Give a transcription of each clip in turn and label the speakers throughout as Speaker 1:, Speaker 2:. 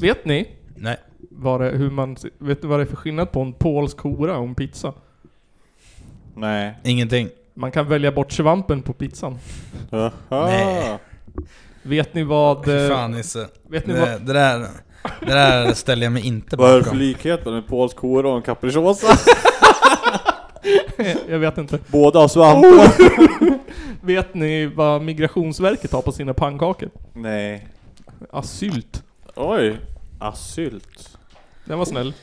Speaker 1: Vet ni
Speaker 2: Nej.
Speaker 1: vad det, hur man, vet du vad det är för skillnad på en polsk hora och en pizza?
Speaker 3: Nej.
Speaker 2: Ingenting.
Speaker 1: Man kan välja bort svampen på pizzan.
Speaker 3: Aha.
Speaker 2: Nej.
Speaker 1: Vet ni vad...
Speaker 2: Fy
Speaker 1: eh,
Speaker 2: fan Nisse.
Speaker 1: Vet ni vad...
Speaker 2: Det, det, där, det där ställer jag mig inte
Speaker 3: Vad är det för
Speaker 2: bakom.
Speaker 3: likhet mellan en polsk hora och en capricciosa?
Speaker 1: Jag vet inte.
Speaker 3: Båda har svampar.
Speaker 1: Vet ni vad Migrationsverket har på sina pannkakor?
Speaker 3: Nej.
Speaker 1: Asylt.
Speaker 3: Oj. Asylt.
Speaker 1: Den var snäll.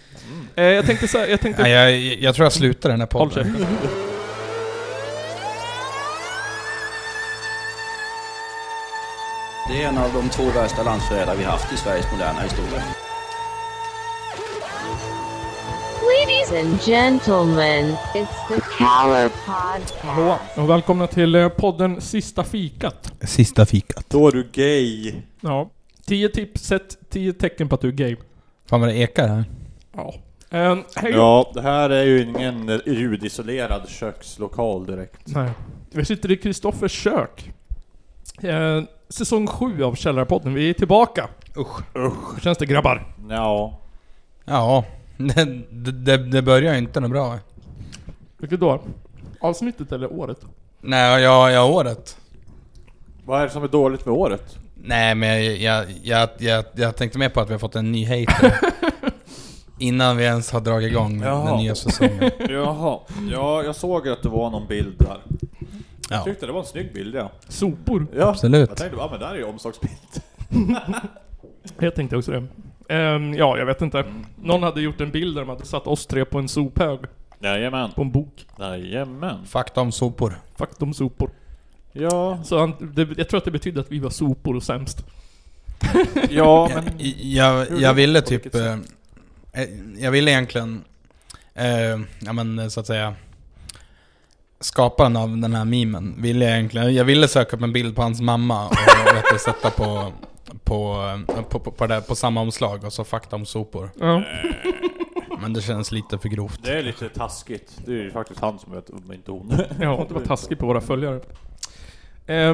Speaker 1: Eh, jag tänkte så här, jag tänkte...
Speaker 2: Mm. Nej, jag, jag tror jag slutar den här
Speaker 1: Håll
Speaker 2: podden.
Speaker 1: käften.
Speaker 4: Det är en av de två värsta landsförrädare vi haft i Sveriges moderna historia.
Speaker 5: Ladies and gentlemen, it's the Power Podcast.
Speaker 1: Hallå och välkomna till eh, podden Sista Fikat.
Speaker 2: Sista fikat.
Speaker 3: Då är du gay.
Speaker 1: Ja. 10 tips, sätt 10 tecken på att du är gay.
Speaker 2: Fan vad det ekar här.
Speaker 1: Ja. Eh, hej.
Speaker 3: Ja, det här är ju ingen ljudisolerad kökslokal direkt.
Speaker 1: Nej. Vi sitter i Kristoffers kök. Eh, säsong 7 av Källarpodden. Vi är tillbaka.
Speaker 2: Usch.
Speaker 1: Hur känns det grabbar?
Speaker 3: Ja.
Speaker 2: Ja. Det, det- det, det börjar ju inte något bra.
Speaker 1: Vilket då? Avsnittet eller året?
Speaker 2: Nej, jag, jag året.
Speaker 3: Vad är det som är dåligt med året?
Speaker 2: Nej, men jag, jag, jag, jag, jag tänkte mer på att vi har fått en ny hater. Innan vi ens har dragit igång den
Speaker 3: Jaha.
Speaker 2: nya säsongen.
Speaker 3: Jaha. Ja, jag såg att det var någon bild där.
Speaker 2: Ja,
Speaker 3: Tyckte det var en snygg bild ja.
Speaker 1: Sopor.
Speaker 3: ja.
Speaker 2: absolut.
Speaker 3: Jag tänkte, ja men där är ju omslagsbild.
Speaker 1: Jag tänkte också det. Ehm, ja, jag vet inte. Någon hade gjort en bild där de hade satt oss tre på en sophög.
Speaker 3: Jajamän.
Speaker 1: På en bok.
Speaker 3: Jajamän.
Speaker 2: Fakta om sopor.
Speaker 1: Faktum sopor.
Speaker 3: Ja.
Speaker 1: Så han, det, jag tror att det betydde att vi var sopor och sämst.
Speaker 3: Ja
Speaker 2: Jag,
Speaker 3: men...
Speaker 2: jag, jag ville
Speaker 3: På
Speaker 2: typ...
Speaker 3: vilket
Speaker 2: eh, eh, Jag ville egentligen... Eh, ja men eh, så att säga... Skaparen av den här memen ville jag egentligen... Jag ville söka upp en bild på hans mamma och eh, vet du, sätta på... På, eh, på, på, på, det, på samma omslag och så fakta om sopor.
Speaker 1: Ja.
Speaker 2: Men det känns lite för grovt.
Speaker 3: Det är lite taskigt. Det är ju faktiskt han som vet, men inte hon.
Speaker 1: Ja, det var taskigt på våra följare.
Speaker 2: Men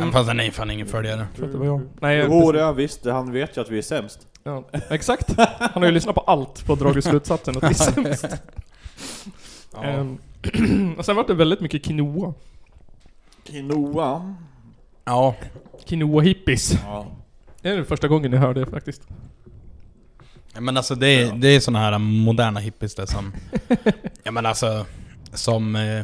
Speaker 1: Um,
Speaker 2: Fast han är ju fan ingen följare.
Speaker 1: det var jag. Nej, jag-
Speaker 3: Jo, det är han visst. Han vet ju att vi är sämst.
Speaker 1: Ja, exakt. Han har ju lyssnat på allt och dragit slutsatsen att det är sämst. Ehm, och sen var det väldigt mycket quinoa.
Speaker 3: Quinoa.
Speaker 2: Ja,
Speaker 1: Quinoa-hippies.
Speaker 3: Ja.
Speaker 1: Det är den första gången jag hör det faktiskt.
Speaker 2: men alltså det är, det är såna här moderna hippies där som... ja men alltså, som... eh,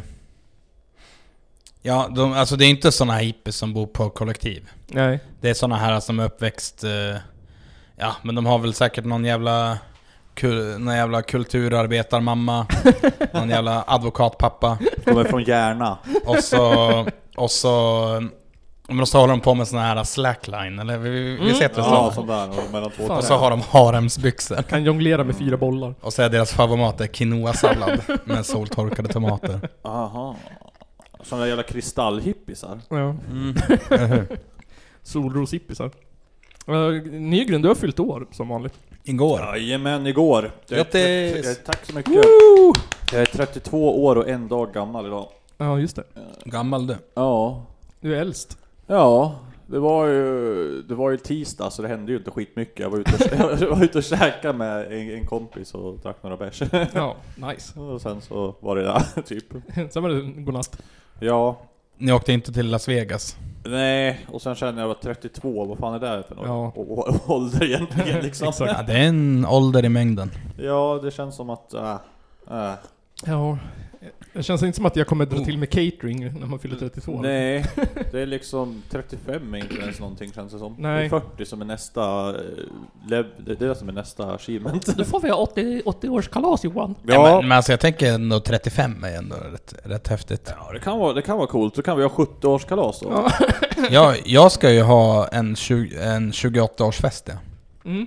Speaker 2: Ja, de, alltså det är inte såna här hippies som bor på kollektiv.
Speaker 1: Nej.
Speaker 2: Det är såna här som är uppväxt... eh, Ja, men de har väl säkert någon jävla... Kul, någon jävla kulturarbetarmamma, någon jävla advokatpappa
Speaker 3: De är från Järna.
Speaker 2: och så... Och så... ja, Men så håller de på med såna här slackline, eller vi, vi, vi heter det
Speaker 3: Ja,
Speaker 2: så?
Speaker 3: sån där. och Mellan två
Speaker 1: Fan.
Speaker 2: Och så har de haremsbyxor.
Speaker 1: Kan jonglera med fyra bollar.
Speaker 2: Och så är deras favoritmat är quinoa-sallad med soltorkade tomater.
Speaker 3: Aha. Såna där jävla kristallhippisar.
Speaker 1: Ja. Solroshippisar. Uh, Nygren, du har fyllt år som vanligt.
Speaker 2: Igår.
Speaker 3: Jajamän, igår. Jag är
Speaker 2: Grattis!
Speaker 3: trettio- jag- Tack så mycket. Jag är 32 år och en dag gammal idag.
Speaker 1: Ja, just det.
Speaker 2: Gammal du.
Speaker 3: Ja.
Speaker 1: Du är äldst.
Speaker 3: Ja. Det var ju, det var ju tisdag så det hände ju inte skitmycket. Jag var ute och, jag var ute och käkade med en, en kompis och drack några bärs.
Speaker 1: Ja, nice.
Speaker 3: Och sen så var det där, typ.
Speaker 1: Sen var det en godnatt.
Speaker 3: Ja.
Speaker 2: Ni åkte inte till Las Vegas.
Speaker 3: Nej, och sen känner jag att 32, vad fan är det för något?
Speaker 1: Ja.
Speaker 3: Å- å- ålder egentligen liksom?
Speaker 1: Exakt.
Speaker 2: Ja, det är en ålder i mängden.
Speaker 3: Ja, det känns som att... Äh, äh.
Speaker 1: Ja. Det känns inte som att jag kommer dra till med catering när man fyller 32.
Speaker 3: Nej, det är liksom 35 är inte ens någonting känns det som.
Speaker 1: Nej.
Speaker 3: Det är 40 som är nästa... eh, Lev, det är det som är nästa achievement.
Speaker 1: Då får vi ha 80, 80-årskalas Johan.
Speaker 2: Ja. Men, men alltså jag tänker ändå 35 är ändå rätt, rätt häftigt.
Speaker 3: Ja, det kan vara, det kan vara coolt. Då kan vi ha 70-årskalas då. Ja.
Speaker 2: Jag, jag ska ju ha en, 20 en 28-årsfest ja.
Speaker 1: Mm.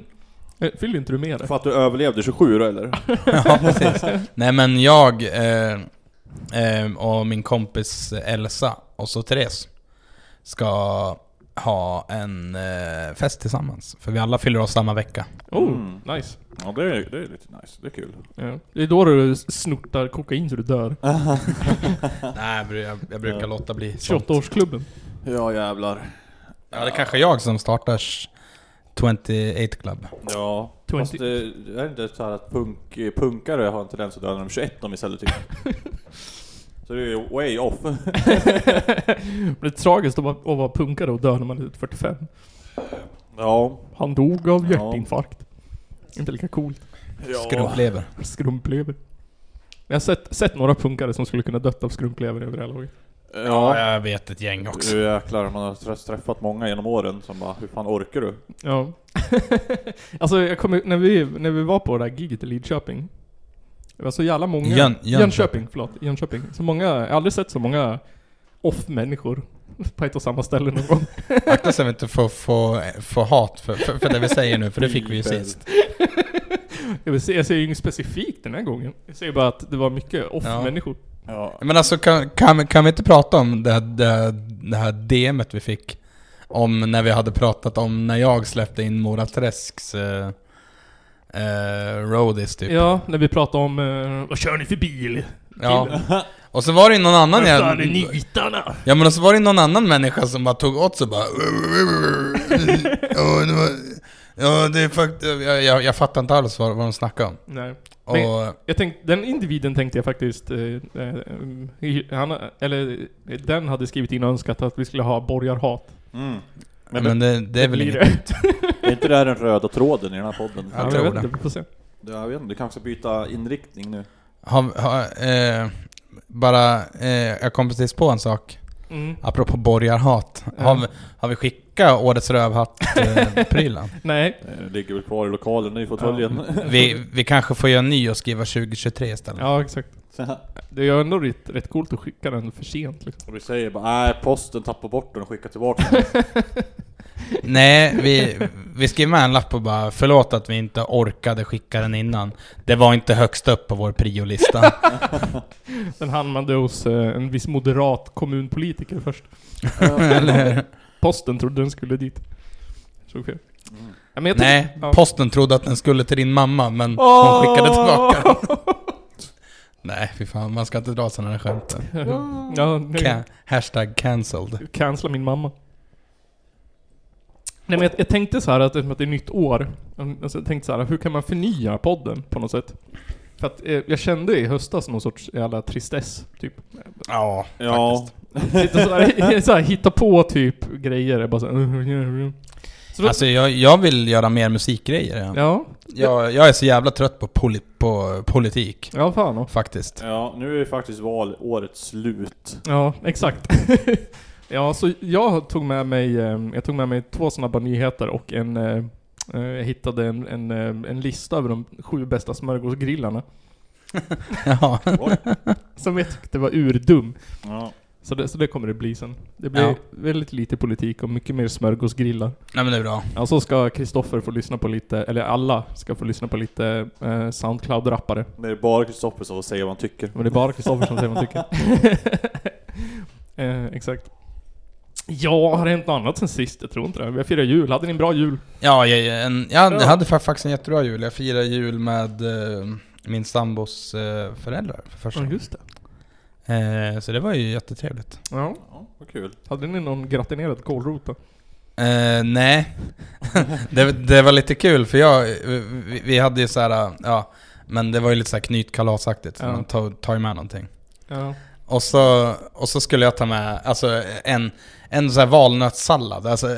Speaker 1: Eh, Fyller inte du med det?
Speaker 3: För att du överlevde 27 då eller?
Speaker 2: ja. precis. Nej men jag eh, eh, och min kompis Elsa och så Therese ska ha en eh, fest tillsammans. För vi alla fyller oss samma vecka.
Speaker 1: Oh,
Speaker 3: Mm.
Speaker 1: nice.
Speaker 3: Ja, det är, det är lite nice. Det är kul.
Speaker 1: Ja. Det är då du snortar kokain så du dör.
Speaker 2: Nej, bru- jag, jag brukar låta bli sånt.
Speaker 1: 28-årsklubben.
Speaker 3: Ja, jävlar.
Speaker 2: Ja, det är kanske jag som startar 28 Club.
Speaker 3: Ja. Fast
Speaker 1: 20...
Speaker 3: eh, är det inte så här att punk, eh, punkare har en tendens att döda när de är 21 om istället typ? Så det är ju way off.
Speaker 1: Men det är tragiskt att vara, att vara punkare och dö när man är 45.
Speaker 3: ja.
Speaker 1: Han dog av
Speaker 3: Ja.
Speaker 1: hjärtinfarkt. Inte lika coolt.
Speaker 2: Skrumplever.
Speaker 1: Skrumplever. Jag har sett, sett några punkare som skulle kunna dött av skrumplever över det här laget.
Speaker 2: Ja,
Speaker 3: Ja.
Speaker 2: jag vet ett gäng också.
Speaker 3: Nu jäklar, man har träff- träffat många genom åren som bara, hur fan orkar du?
Speaker 1: Ja. alltså jag kommer när vi, när vi var på det där giget i Lidköping. Det var så jävla många...
Speaker 2: Jön-
Speaker 1: Jönköping.
Speaker 2: Jönköping.
Speaker 1: förlåt. Jönköping. Så många, jag har aldrig sett så många off-människor på ett och samma ställe någon gång.
Speaker 2: Akta så att vi inte får, får, får hat för, för, för det vi säger nu, för det fick vi ju
Speaker 3: Bibel.
Speaker 2: sist.
Speaker 1: Jag, vill se, jag ser ju inget specifikt den här gången. Jag ser ju bara att det var mycket off-människor.
Speaker 3: Ja.
Speaker 2: Men alltså kan, kan, kan vi inte prata om det, här- det, här- det här DMet vi fick? Om när vi hade pratat om när jag släppte in Mora Träsks eh, eh, roadies typ.
Speaker 1: Ja, när vi pratade om eh, vad kör ni för bil?
Speaker 2: Ja. Och så var det ju någon annan
Speaker 1: Vad fan är
Speaker 2: jag,
Speaker 1: nitarna?
Speaker 2: Ja men och så var det någon annan människa som bara tog åt sig bara... ja, det var, ja, det är fakt- jag, jag, jag fattar inte alls vad, vad de snackade om.
Speaker 1: Nej.
Speaker 2: Och,
Speaker 1: Jag tänkte, den individen tänkte jag faktiskt, eh, eh, i- han, eller eh, den hade skrivit in och önskat att vi skulle ha borgarhat.
Speaker 3: Mm.
Speaker 2: men, det, det är väl
Speaker 1: Blir
Speaker 2: inget...
Speaker 1: det?
Speaker 3: Är inte det här den röda tråden i den här podden?
Speaker 2: Ja.
Speaker 1: Jag, jag
Speaker 2: Jag tror
Speaker 1: vet
Speaker 2: det.
Speaker 1: inte, vi får se.
Speaker 3: Det- Jag vet inte, du kanske ska byta inriktning nu?
Speaker 2: Har, har, eh, bara, eh, jag kom precis på en sak.
Speaker 1: Mm.
Speaker 2: Apropå borgarhat. Har, vi, har vi skickat årets eh, rövhatt-prylen?
Speaker 1: Nej.
Speaker 3: Eh, Det ligger väl kvar i lokalen nu i fåtöljen.
Speaker 2: vi, vi kanske får göra en ny och skriva 2023 istället.
Speaker 1: Ja, exakt.
Speaker 3: Så-
Speaker 1: Det är ju ändå rätt, rätt coolt att skicka den för sent liksom.
Speaker 3: Och vi säger bara, nej posten tappar bort den och skickar tillbaka den.
Speaker 2: Nej, vi, vi skriver med en lapp och bara förlåt att vi inte orkade skicka den innan. Det var inte högst upp på vår priolista.
Speaker 1: Den hann man då hos eh, en viss moderat kommunpolitiker först.
Speaker 2: Eller,
Speaker 1: Posten trodde den skulle dit. Såg fel. Ja, men jag tycker-
Speaker 2: nej,
Speaker 1: ja.
Speaker 2: posten trodde att den skulle till din mamma men hon skickade tillbaka den. Nej, fy fan, man ska inte dra sådana där skämt.
Speaker 1: ja, nu,
Speaker 2: Ca- hashtag cancelled.
Speaker 1: cancella min mamma. Nej men jag, jag tänkte så här att eftersom att det är nytt år, alltså jag tänkte så här, hur kan man förnya podden på något sätt? För att eh, jag kände i höstas någon sorts jävla tristess, typ.
Speaker 2: Ja,
Speaker 3: Ja,
Speaker 1: Sitta så här, så här, hitta på typ grejer, jag bara så här, Så då,
Speaker 2: Alltså jag, jag vill göra mer musikgrejer. Ja.
Speaker 1: ja,
Speaker 2: Jag, jag är så jävla trött på, poli, på politik,
Speaker 1: ja fan och.
Speaker 2: faktiskt.
Speaker 3: ja, nu är ju faktiskt valåret slut.
Speaker 1: Ja, exakt. ja, så jag tog med mig, eh, jag tog med mig två snabba nyheter och en, eh, eh, jag hittade en, en, eh, en lista över de sju bästa smörgåsgrillarna.
Speaker 2: Ja.
Speaker 3: Oj.
Speaker 1: Som jag tyckte var urdum.
Speaker 3: Ja.
Speaker 1: Så det, så det kommer det bli sen. Det blir
Speaker 2: Ja.
Speaker 1: väldigt lite politik och mycket mer smörgåsgrillar.
Speaker 2: Nej men det är bra.
Speaker 1: Ja, så ska Kristoffer få lyssna på lite, eller alla ska få lyssna på lite eh, Soundcloud-rappare.
Speaker 3: Det är bara Kristoffer som får säga vad han tycker.
Speaker 1: Men det är bara Kristoffer som säger vad han tycker. eh, exakt. Ja, har det hänt något annat sen sist? Jag tror inte det. Vi har firat jul. Hade ni en bra jul?
Speaker 2: Ja, jag, jag- en, jag
Speaker 1: Ja.
Speaker 2: hade fa- faktiskt en jättebra jul. Jag firade jul med eh, min sambos eh, föräldrar för första gången.
Speaker 1: det.
Speaker 2: Eh, så det var ju jättetrevligt.
Speaker 1: Ja.
Speaker 3: Ja, vad kul.
Speaker 1: Hade ni någon gratinerad kålrot då?
Speaker 2: Eh, nej, det, det var lite kul för jag, vi, vi hade ju så här, eh, ja, men det var ju lite så här knytkalasaktigt, så
Speaker 1: Ja.
Speaker 2: man tog, tar ju med någonting.
Speaker 1: Ja.
Speaker 2: Och så, och så skulle jag ta med alltså, en, en så här valnötssallad, alltså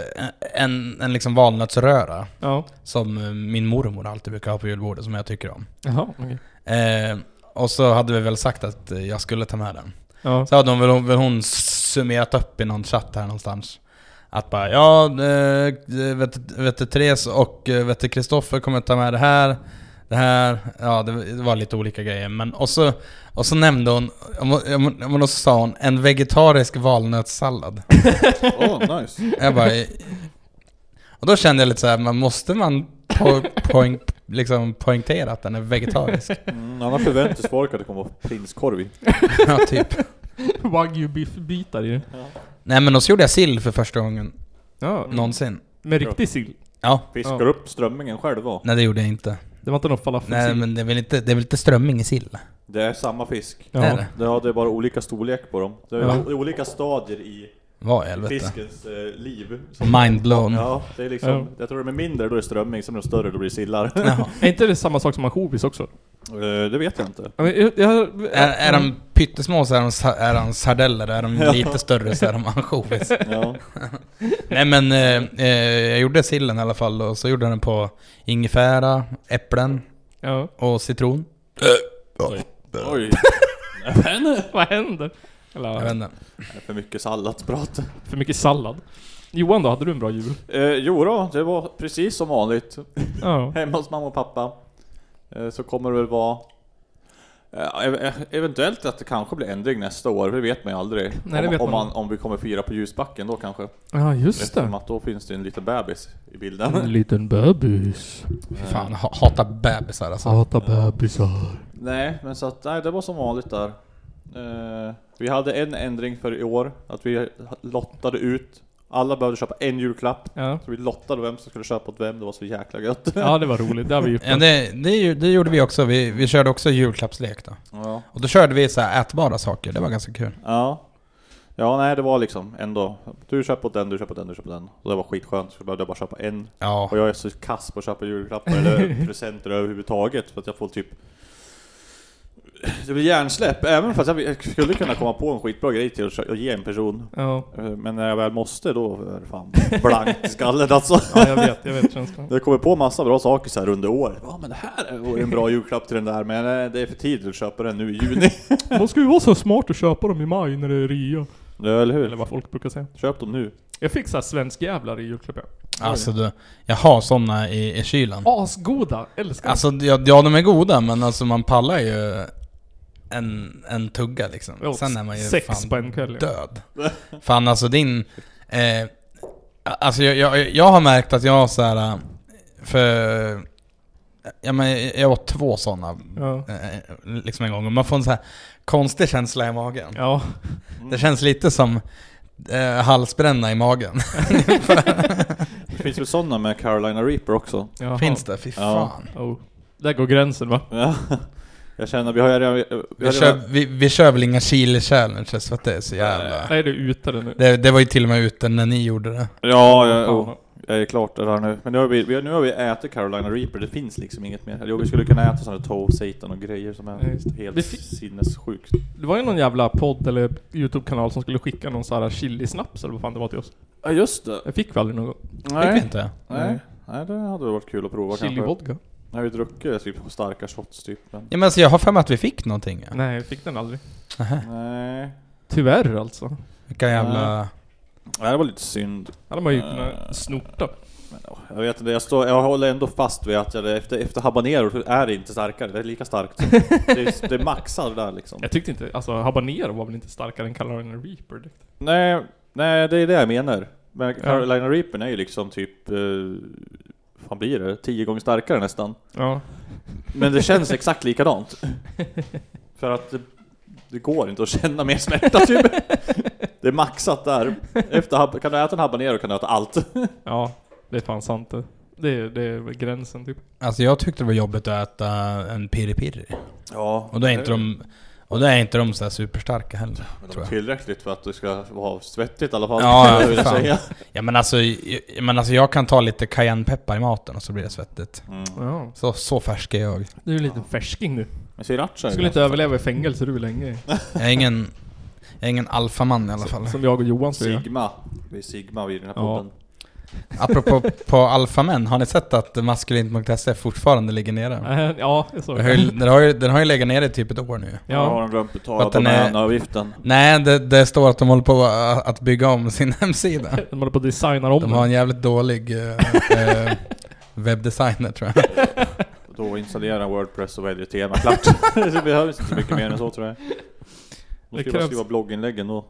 Speaker 2: en, en liksom valnötsröra
Speaker 1: Ja.
Speaker 2: som eh, min mormor alltid brukar ha på julbordet, som jag tycker om.
Speaker 1: Jaha, okej.
Speaker 2: Eh, och så hade vi väl sagt att eh, jag skulle ta med den.
Speaker 1: Ja.
Speaker 2: Så hade hon väl, väl hon summerat upp i någon chatt här någonstans. Att bara ja, eh, vet, vet du Therese och eh, vet du Kristoffer kommer ta med det här. Det här, ja det det var lite olika grejer. Men och så, och så nämnde hon, och så sa hon en vegetarisk valnötssallad.
Speaker 3: Åh, oh, nice.
Speaker 2: Jag bara, eh, och då kände jag lite så här, men måste man po poäng, liksom poängtera att den är vegetarisk?
Speaker 3: Mm, annars förväntas folk att det kommer vara prinskorv i.
Speaker 2: Ja, typ.
Speaker 1: Wagyu-biffbitar ju.
Speaker 2: Nej men och så gjorde jag sill för första gången
Speaker 1: Ja.
Speaker 2: någonsin.
Speaker 1: Med riktig sill.
Speaker 2: Ja,
Speaker 3: Fiskar
Speaker 1: Ja.
Speaker 3: upp strömmingen själv då.
Speaker 2: nej det gjorde jag inte.
Speaker 1: Det var inte någon
Speaker 2: Nej
Speaker 1: falafelsill?
Speaker 2: men det är väl inte, det är väl inte strömming i sill?
Speaker 3: Det är samma fisk.
Speaker 1: Ja.
Speaker 2: Är det?
Speaker 3: Det har- det är bara olika storlek på dem. Det är
Speaker 1: Ja.
Speaker 3: o- olika stadier i
Speaker 2: Vad i helvete?
Speaker 3: fiskens eh, liv.
Speaker 2: Mind blown.
Speaker 3: Ja, det är liksom,
Speaker 1: Mm. Ja.
Speaker 3: jag tror de är mindre, då är det strömming, sen är de större, då blir det sillar.
Speaker 2: Jaha.
Speaker 1: Är inte det samma sak som ansjovis också?
Speaker 3: Eh, det vet jag inte.
Speaker 1: Ja, men Jag, jag,
Speaker 2: Är, är de pyttesmå så är de, sa- är de sardeller, är de lite större så är de ansjovis.
Speaker 3: Ja.
Speaker 2: Nej men, eh, eh, jag gjorde sillen i alla fall och så gjorde jag den på ingefära, äpplen
Speaker 1: ja.
Speaker 2: och citron.
Speaker 3: Oj,
Speaker 1: Vad händer? Eller,
Speaker 2: Jag vet inte.
Speaker 3: det är för mycket salladsprat.
Speaker 1: för mycket sallad. Johan då, hade du en bra jul?
Speaker 3: Eh, jo då, det var precis som vanligt.
Speaker 1: Ja.
Speaker 3: Hemma hos mamma och pappa. Eh, så kommer det väl vara... Eh, ev- eh, eventuellt att det kanske blir ändring nästa år, det vet man ju aldrig.
Speaker 1: Nej, det
Speaker 3: om,
Speaker 1: vet
Speaker 3: om,
Speaker 1: man
Speaker 3: om vi kommer fira på ljusbacken då kanske.
Speaker 1: Ja, just
Speaker 3: Eftersom
Speaker 1: det. Mm.
Speaker 3: att då finns det en liten bebis i bilden.
Speaker 1: En liten bebis.
Speaker 2: Fy Fan, ha- hatar bebisar alltså.
Speaker 1: Hata bebisar.
Speaker 3: Nej, men så att, nej, det var som vanligt där. Eh, vi hade en ändring för i år, att vi lottade ut. Alla behövde köpa en julklapp.
Speaker 1: Ja.
Speaker 3: Så vi lottade vem som skulle köpa åt vem, det var så jäkla gött.
Speaker 1: ja, det var roligt. Det har vi gjort.
Speaker 2: Ja, det, det, ju- det gjorde vi också, vi, vi körde också julklappslek då.
Speaker 3: Ja.
Speaker 2: Och då körde vi så här ätbara saker, det var ganska kul.
Speaker 3: Ja. Ja, nej det var liksom ändå. Du köper åt den, du köper åt den, du köper åt den. Och det var skitskönt, så behövde jag bara köpa en.
Speaker 2: Ja,
Speaker 3: Och jag är så kass på att köpa julklappar eller presenter överhuvudtaget. För att jag får typ... Det blir hjärnsläpp, även fast jag- jag skulle kunna komma på en skitbra grej till att kö- att ge en person.
Speaker 1: Ja.
Speaker 3: Eh, Men när jag väl måste då är det fan blankt i skallen alltså.
Speaker 1: ja, jag vet. Jag vet känslan.
Speaker 3: Jag kommer på massa bra saker så här under året. Ja men det här vore en bra julklapp till den där, men eh, det är för tidigt att köpa den nu i juni.
Speaker 1: Man ska ju vara så smart och köpa dem i maj när det är rea.
Speaker 3: Ja, eller
Speaker 1: Eller
Speaker 3: hur?
Speaker 1: vad folk brukar säga.
Speaker 3: Köp dem nu.
Speaker 1: Jag fick såhär svenskjävlar i julklapp ja.
Speaker 2: alltså du, jag har såna i, i kylen.
Speaker 1: Asgoda! Älskar dem.
Speaker 2: Alltså, ja, ja de är goda men alltså man pallar ju en, en tugga liksom.
Speaker 1: Jo,
Speaker 2: Sen är man ju
Speaker 1: sex
Speaker 2: fan
Speaker 1: på en kväll, ja.
Speaker 2: död. Fan alltså din... Eh, alltså jag, jag, jag har märkt att jag så här för... Ja, men jag åt två sådana
Speaker 1: Ja.
Speaker 2: eh, liksom en gång och man får en så här konstig känsla i magen.
Speaker 1: Ja.
Speaker 2: Det känns lite som eh, halsbränna i magen.
Speaker 3: Det finns väl sådana med Carolina Reaper också?
Speaker 1: Jaha.
Speaker 2: Finns det? Fy
Speaker 3: Ja.
Speaker 2: fan.
Speaker 1: Oh. Där går gränsen va?
Speaker 3: Ja. Jag känner, vi har ju redan... Vi, har
Speaker 2: Vi kör, vi, vi kör väl inga chili challenges för att det är så jävla...
Speaker 1: Nej, det är ute det nu.
Speaker 2: Det, det var ju till och med ute när ni gjorde det.
Speaker 3: Ja,
Speaker 1: Fan,
Speaker 3: ja, jo. Jag är klart det där nu. Men nu har, vi, vi, har- nu har vi ätit Carolina Reaper, det finns liksom inget mer. Eller Jo, vi skulle kunna äta sådana Toe Satan och grejer som
Speaker 1: Ja,
Speaker 3: är
Speaker 1: just det.
Speaker 3: helt
Speaker 1: Det fi-
Speaker 3: sinnessjukt.
Speaker 1: Det var ju någon jävla podd eller YouTube-kanal som skulle skicka någon sån här chilisnaps eller vad fan det var till oss.
Speaker 3: Ja, just det.
Speaker 1: Jag fick väl aldrig någon.
Speaker 2: Fick vi
Speaker 3: Nej.
Speaker 2: inte?
Speaker 3: Nej. Nej, det hade varit kul att prova kanske.
Speaker 1: Chili-vodka?
Speaker 3: Jag har ju druckit typ starka shots typ, men...
Speaker 2: Ja, men alltså, jag har för mig att vi fick någonting. Ja.
Speaker 1: Nej, jag fick den aldrig.
Speaker 2: Nähä.
Speaker 3: Nej.
Speaker 1: Tyvärr alltså.
Speaker 2: Vilka jävla...
Speaker 3: Nej, det var lite synd.
Speaker 1: Hade man ju kunnat snorta.
Speaker 3: Jag vet inte, jag, står, jag håller ändå fast vid att jag, efter, efter habanero så är det inte starkare, det är lika starkt. det, är, det maxar det där liksom.
Speaker 1: Jag tyckte inte, alltså habanero var väl inte starkare än Carolina Reaper direkt?
Speaker 3: Nej, nej, det är det jag menar. Men
Speaker 1: Ja.
Speaker 3: Carolina Reaper är ju liksom typ, eh, vad blir det? Tio gånger starkare nästan.
Speaker 1: Ja.
Speaker 3: Men det känns exakt likadant. För att det, det går inte att känna mer smärta typ. Det är maxat där. Efter, hab- kan du äta en habanero kan du äta allt.
Speaker 1: Ja, det är fan sant det. Det är, det är gränsen typ.
Speaker 2: Alltså jag tyckte det var jobbigt att äta en piripiri.
Speaker 3: Ja,
Speaker 2: Och då är inte de... Och då är inte de så här superstarka heller, tror jag.
Speaker 3: Tillräckligt för att det ska vara svettigt i alla fall.
Speaker 2: Ja, ja,
Speaker 3: vill
Speaker 2: för
Speaker 3: jag
Speaker 2: fan.
Speaker 3: säga.
Speaker 2: Ja, men alltså, jag, men alltså jag kan ta lite cayennepeppar i maten och så blir det svettigt.
Speaker 1: Ja.
Speaker 2: Så, så färsk är jag.
Speaker 1: Du är en liten färsking nu.
Speaker 3: Men sriracha
Speaker 1: Du
Speaker 3: är
Speaker 1: skulle
Speaker 3: gott.
Speaker 1: inte överleva i fängelse du länge.
Speaker 2: Jag är ingen... Jag är ingen alfaman i alla fall.
Speaker 1: Som jag och Johan säger.
Speaker 3: Sigma. Vi är Sigma vid den här
Speaker 1: Ja.
Speaker 3: podden.
Speaker 2: Apropå på alfamän, har ni sett att maskulint.se fortfarande ligger nere?
Speaker 1: Äh, Ja, jag såg
Speaker 2: Den har, ju, den, har ju, den har ju legat nere i typ ett år nu.
Speaker 3: Ja. Har
Speaker 1: Ja.
Speaker 3: de glömt betala
Speaker 2: Att den är-
Speaker 3: domänavgiften?
Speaker 2: Nej, det, det står att de håller på att bygga om sin hemsida.
Speaker 1: De håller på att designa om
Speaker 2: De har
Speaker 1: den.
Speaker 2: en jävligt dålig eh, eh, webbdesigner tror jag.
Speaker 3: Då installera Wordpress och välja tema klart. det behövs inte så mycket mer än så tror jag. Då
Speaker 1: Det
Speaker 3: ska man
Speaker 1: krävs-
Speaker 3: skriva blogginläggen då.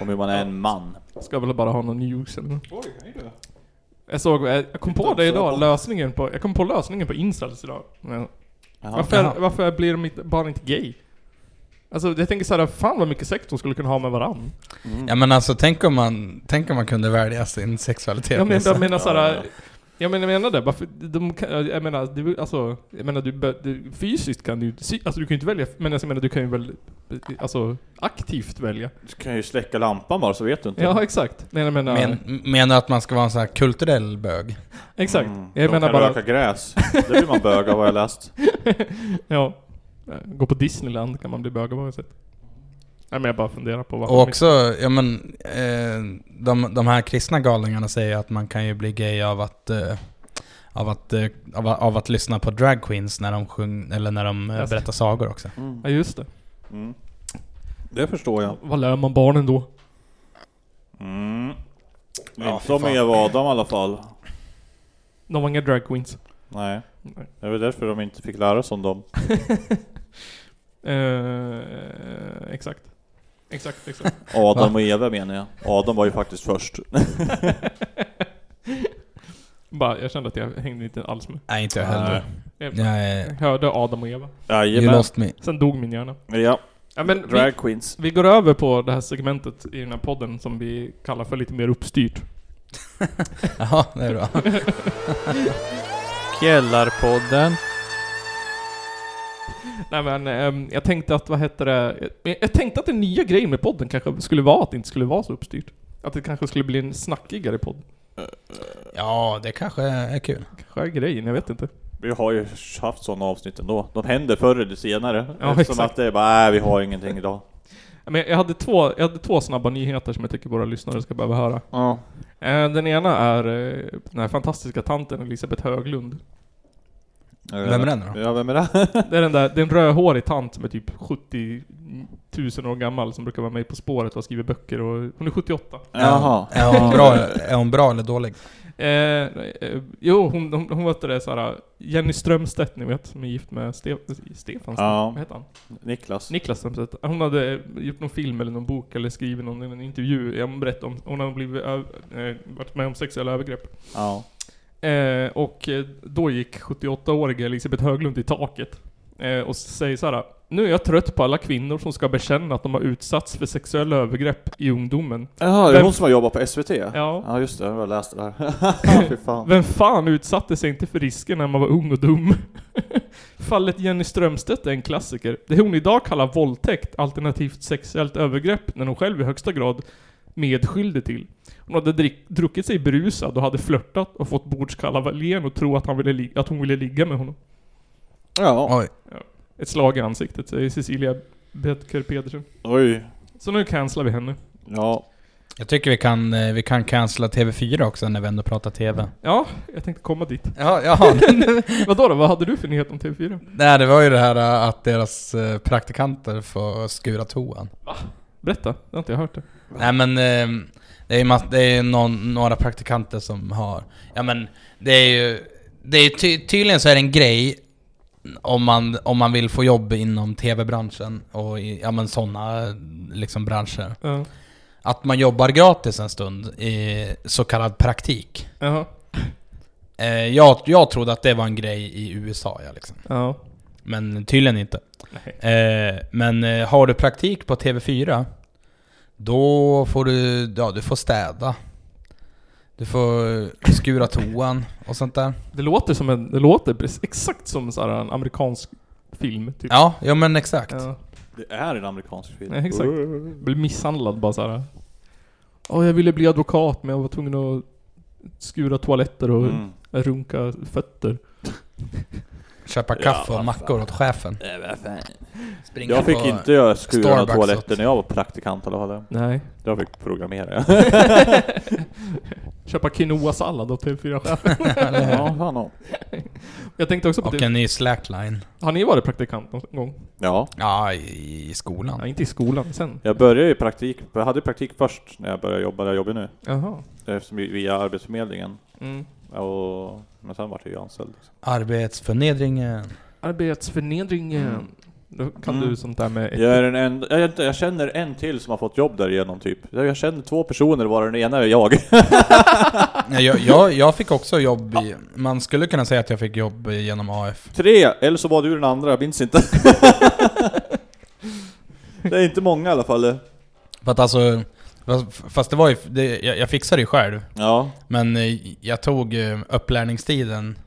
Speaker 3: Om hur man är en man.
Speaker 1: Ska väl bara ha någon news eller något. Jag såg, eh, jag kom på det idag, lösningen på, jag kom på lösningen på incels idag. Ja.
Speaker 3: Jaha.
Speaker 1: Varför,
Speaker 2: Jaha.
Speaker 1: varför blir de inte, bara inte gay? Alltså jag tänker såhär, fan vad mycket sex de skulle kunna ha med varann.
Speaker 3: Mm.
Speaker 2: Ja men alltså tänk om man, tänk om man kunde välja sin sexualitet.
Speaker 1: Jag, men,
Speaker 2: Nisse.
Speaker 1: jag menar såhär, Ja men jag menar det, varför, de kan, jag menar, du, alltså, jag menar du, bör- du, fysiskt kan du ju- sy- alltså du kan ju inte välja, men jag menar du kan ju väl, alltså aktivt välja?
Speaker 3: Du kan ju släcka lampan bara så vet du inte.
Speaker 1: Ja exakt, men jag menar,
Speaker 2: Men, menar du att man ska vara en sån här kulturell bög?
Speaker 1: exakt.
Speaker 3: Mm. De
Speaker 1: Jag menar
Speaker 3: kan
Speaker 1: bara,
Speaker 3: röka gräs. Det blir man bög av vad jag läst.
Speaker 1: ja. Gå på Disneyland kan man bli bög av många sätt. Nej men jag bara funderar på vad
Speaker 2: Och också, ja men, eh, de, de här kristna galningarna säger att man kan ju bli gay av att, eh, av att, eh, av, av att lyssna på drag queens när de, sjung, eller när de eh,
Speaker 1: Alltså.
Speaker 2: berättar sagor också.
Speaker 1: Ja just det.
Speaker 3: Mm. Det förstår jag.
Speaker 1: Vad lär man barnen då?
Speaker 3: Mm.
Speaker 2: Ja, fy
Speaker 3: inte om
Speaker 2: fan.
Speaker 3: Eva och Adam i alla fall.
Speaker 1: De var inga drag queens.
Speaker 3: Nej.
Speaker 1: Nej.
Speaker 3: Det är väl därför de inte fick lära sig om dem.
Speaker 1: Eh, exakt. Exakt, exakt.
Speaker 3: Adam och Eva menar jag. Adam var ju faktiskt först.
Speaker 1: bara, jag kände att jag hängde inte alls med.
Speaker 2: Nej, inte jag heller.
Speaker 1: Jag
Speaker 2: Jag, eh,
Speaker 1: hörde Adam och Eva.
Speaker 2: you
Speaker 3: Jajamän.
Speaker 2: lost me.
Speaker 1: Sen dog min hjärna.
Speaker 3: Ja,
Speaker 1: Ja, men vi,
Speaker 3: drag queens.
Speaker 1: vi går över på det här segmentet i den här podden som vi kallar för lite mer uppstyrt.
Speaker 2: Jaha, det är bra.
Speaker 6: Källarpodden.
Speaker 1: Nej men, ehm, jag tänkte att, vad heter det? Jag, jag tänkte att den nya grejen med podden kanske skulle vara att det inte skulle vara så uppstyrt. Att det kanske skulle bli en snackigare podd.
Speaker 2: Ja, det kanske är kul.
Speaker 1: Kanske är grejen, jag vet inte.
Speaker 3: Vi har ju haft sådana avsnitt ändå. De händer förr eller senare.
Speaker 1: Ja,
Speaker 3: Eftersom
Speaker 1: exakt.
Speaker 3: att det är bara, nej vi har ingenting idag.
Speaker 1: Men jag hade två, jag hade två snabba nyheter som jag tycker våra lyssnare ska behöva höra.
Speaker 3: Ja.
Speaker 1: Eh, Den ena är eh, den här fantastiska tanten Elisabeth Höglund.
Speaker 2: Vem är den då?
Speaker 3: Ja, vem är det?
Speaker 1: Det är den där, det är en rödhårig tant som är typ 70 000 år gammal som brukar vara med På spåret och har skrivit böcker och hon är 78.
Speaker 3: Jaha.
Speaker 2: Är hon bra, är hon bra eller dålig?
Speaker 1: Eh, eh, jo, hon, hon, hon mötte det såhär, Jenny Strömstedt ni vet, som är gift med Ste Stefan,
Speaker 3: Ja.
Speaker 1: vad heter han?
Speaker 3: Niklas.
Speaker 1: Niklas Strömstedt. Hon hade eh, gjort någon film eller någon bok eller skrivit någon, en intervju, jag berättade om, hon hade blivit, öv- eh, varit med om sexuella övergrepp.
Speaker 3: ja.
Speaker 1: Eh, och eh, då gick 78-årige Elisabeth Höglund i taket. Eh, och säger så här. Nu är jag trött på alla kvinnor som ska bekänna att de har utsatts för sexuella övergrepp i ungdomen.
Speaker 3: Jaha, är det
Speaker 1: Vem-
Speaker 3: hon som har jobbat på SVT?
Speaker 1: Ja.
Speaker 3: Ja just det, jag läste det här. Fy fan.
Speaker 1: Vem fan utsatte sig inte för risker när man var ung och dum? Fallet Jenny Strömstedt är en klassiker. Det hon idag kallar våldtäkt, alternativt sexuellt övergrepp, när hon själv i högsta grad medskyldig till. Hon hade drick, druckit sig berusad och hade flörtat och fått bordskavaljén och tro att, han ville li- att hon ville ligga med honom.
Speaker 3: Ja.
Speaker 2: Oj.
Speaker 1: Ett slag i ansiktet, säger Cecilia Bethker Pedersen.
Speaker 3: Oj.
Speaker 1: Så nu cancelar vi henne.
Speaker 3: Ja.
Speaker 2: Jag tycker vi kan, eh, vi kan cancella TV4 också när vi ändå pratar TV.
Speaker 1: Ja, jag tänkte komma dit.
Speaker 2: Ja, ja.
Speaker 1: Vadå då? Vad hade du för nyhet om TV4?
Speaker 2: Nej, det var ju det här eh, att deras eh, praktikanter får skura toan.
Speaker 1: Berätta, jag har inte hört det.
Speaker 2: Nej men eh, det är ju mass- det är någon, några praktikanter som har... Ja men det är ju... Det är ty, tydligen så är det en grej om man, om man vill få jobb inom tv-branschen och i, ja men sådana liksom branscher.
Speaker 1: Ja.
Speaker 2: Att man jobbar gratis en stund i så kallad praktik.
Speaker 1: Jaha.
Speaker 2: Eh, jag, jag trodde att det var en grej i USA ja, liksom.
Speaker 1: Ja.
Speaker 2: Men tydligen inte. Eh, men eh, har du praktik på TV4, då får du, ja, du får städa. Du får skura toan och sånt där.
Speaker 1: Det låter som en, det låter precis, exakt som så här en amerikansk film typ.
Speaker 2: Ja, ja men exakt.
Speaker 1: Ja.
Speaker 3: Det är en amerikansk film.
Speaker 1: Ja, exakt. Blev misshandlad bara så här. Ja, jag ville bli advokat men jag var tvungen att skura toaletter och
Speaker 3: Mm.
Speaker 1: runka fötter.
Speaker 2: Köpa kaffe och mackor åt chefen. Springa
Speaker 3: Jag fick
Speaker 2: på-
Speaker 3: inte göra skura
Speaker 2: Starbucks
Speaker 3: toaletter
Speaker 2: åt-
Speaker 3: när jag var praktikant i alla fall.
Speaker 1: Nej.
Speaker 3: Jag fick programmera.
Speaker 1: Köpa quinoa-sallad åt TV4-chefen.
Speaker 3: ja, fan om.
Speaker 1: Jag tänkte också på
Speaker 2: Och
Speaker 1: det.
Speaker 2: en ny slackline.
Speaker 1: Har ni varit praktikant någon gång?
Speaker 3: Ja.
Speaker 2: Ja, i, i skolan.
Speaker 1: Ja, inte i skolan, sen.
Speaker 3: Jag började ju praktik, jag hade praktik först när jag började jobba där jag jobbar nu.
Speaker 1: Jaha.
Speaker 3: Eftersom vi- via Arbetsförmedlingen.
Speaker 1: Mm.
Speaker 3: Och, men sen vart jag ju anställd. liksom.
Speaker 2: Arbetsförnedringen.
Speaker 1: Arbetsförnedringen. eh, Då kan
Speaker 3: Mm.
Speaker 1: du sånt där med...
Speaker 3: Jag, är den en, jag, är inte- jag känner en till som har fått jobb därigenom typ. Jag känner två personer varav den ena är jag.
Speaker 2: Ja, Jag, jag, jag fick också jobb i... Man skulle kunna säga att jag fick jobb genom AF.
Speaker 3: Tre! Eller så var du den andra, jag minns inte. det är inte många i alla fall.
Speaker 2: För att alltså, Fast- Fast det var ju, det, jag, jag fixade det ju själv.
Speaker 3: Ja.
Speaker 2: Men eh, jag tog eh, upplärningstiden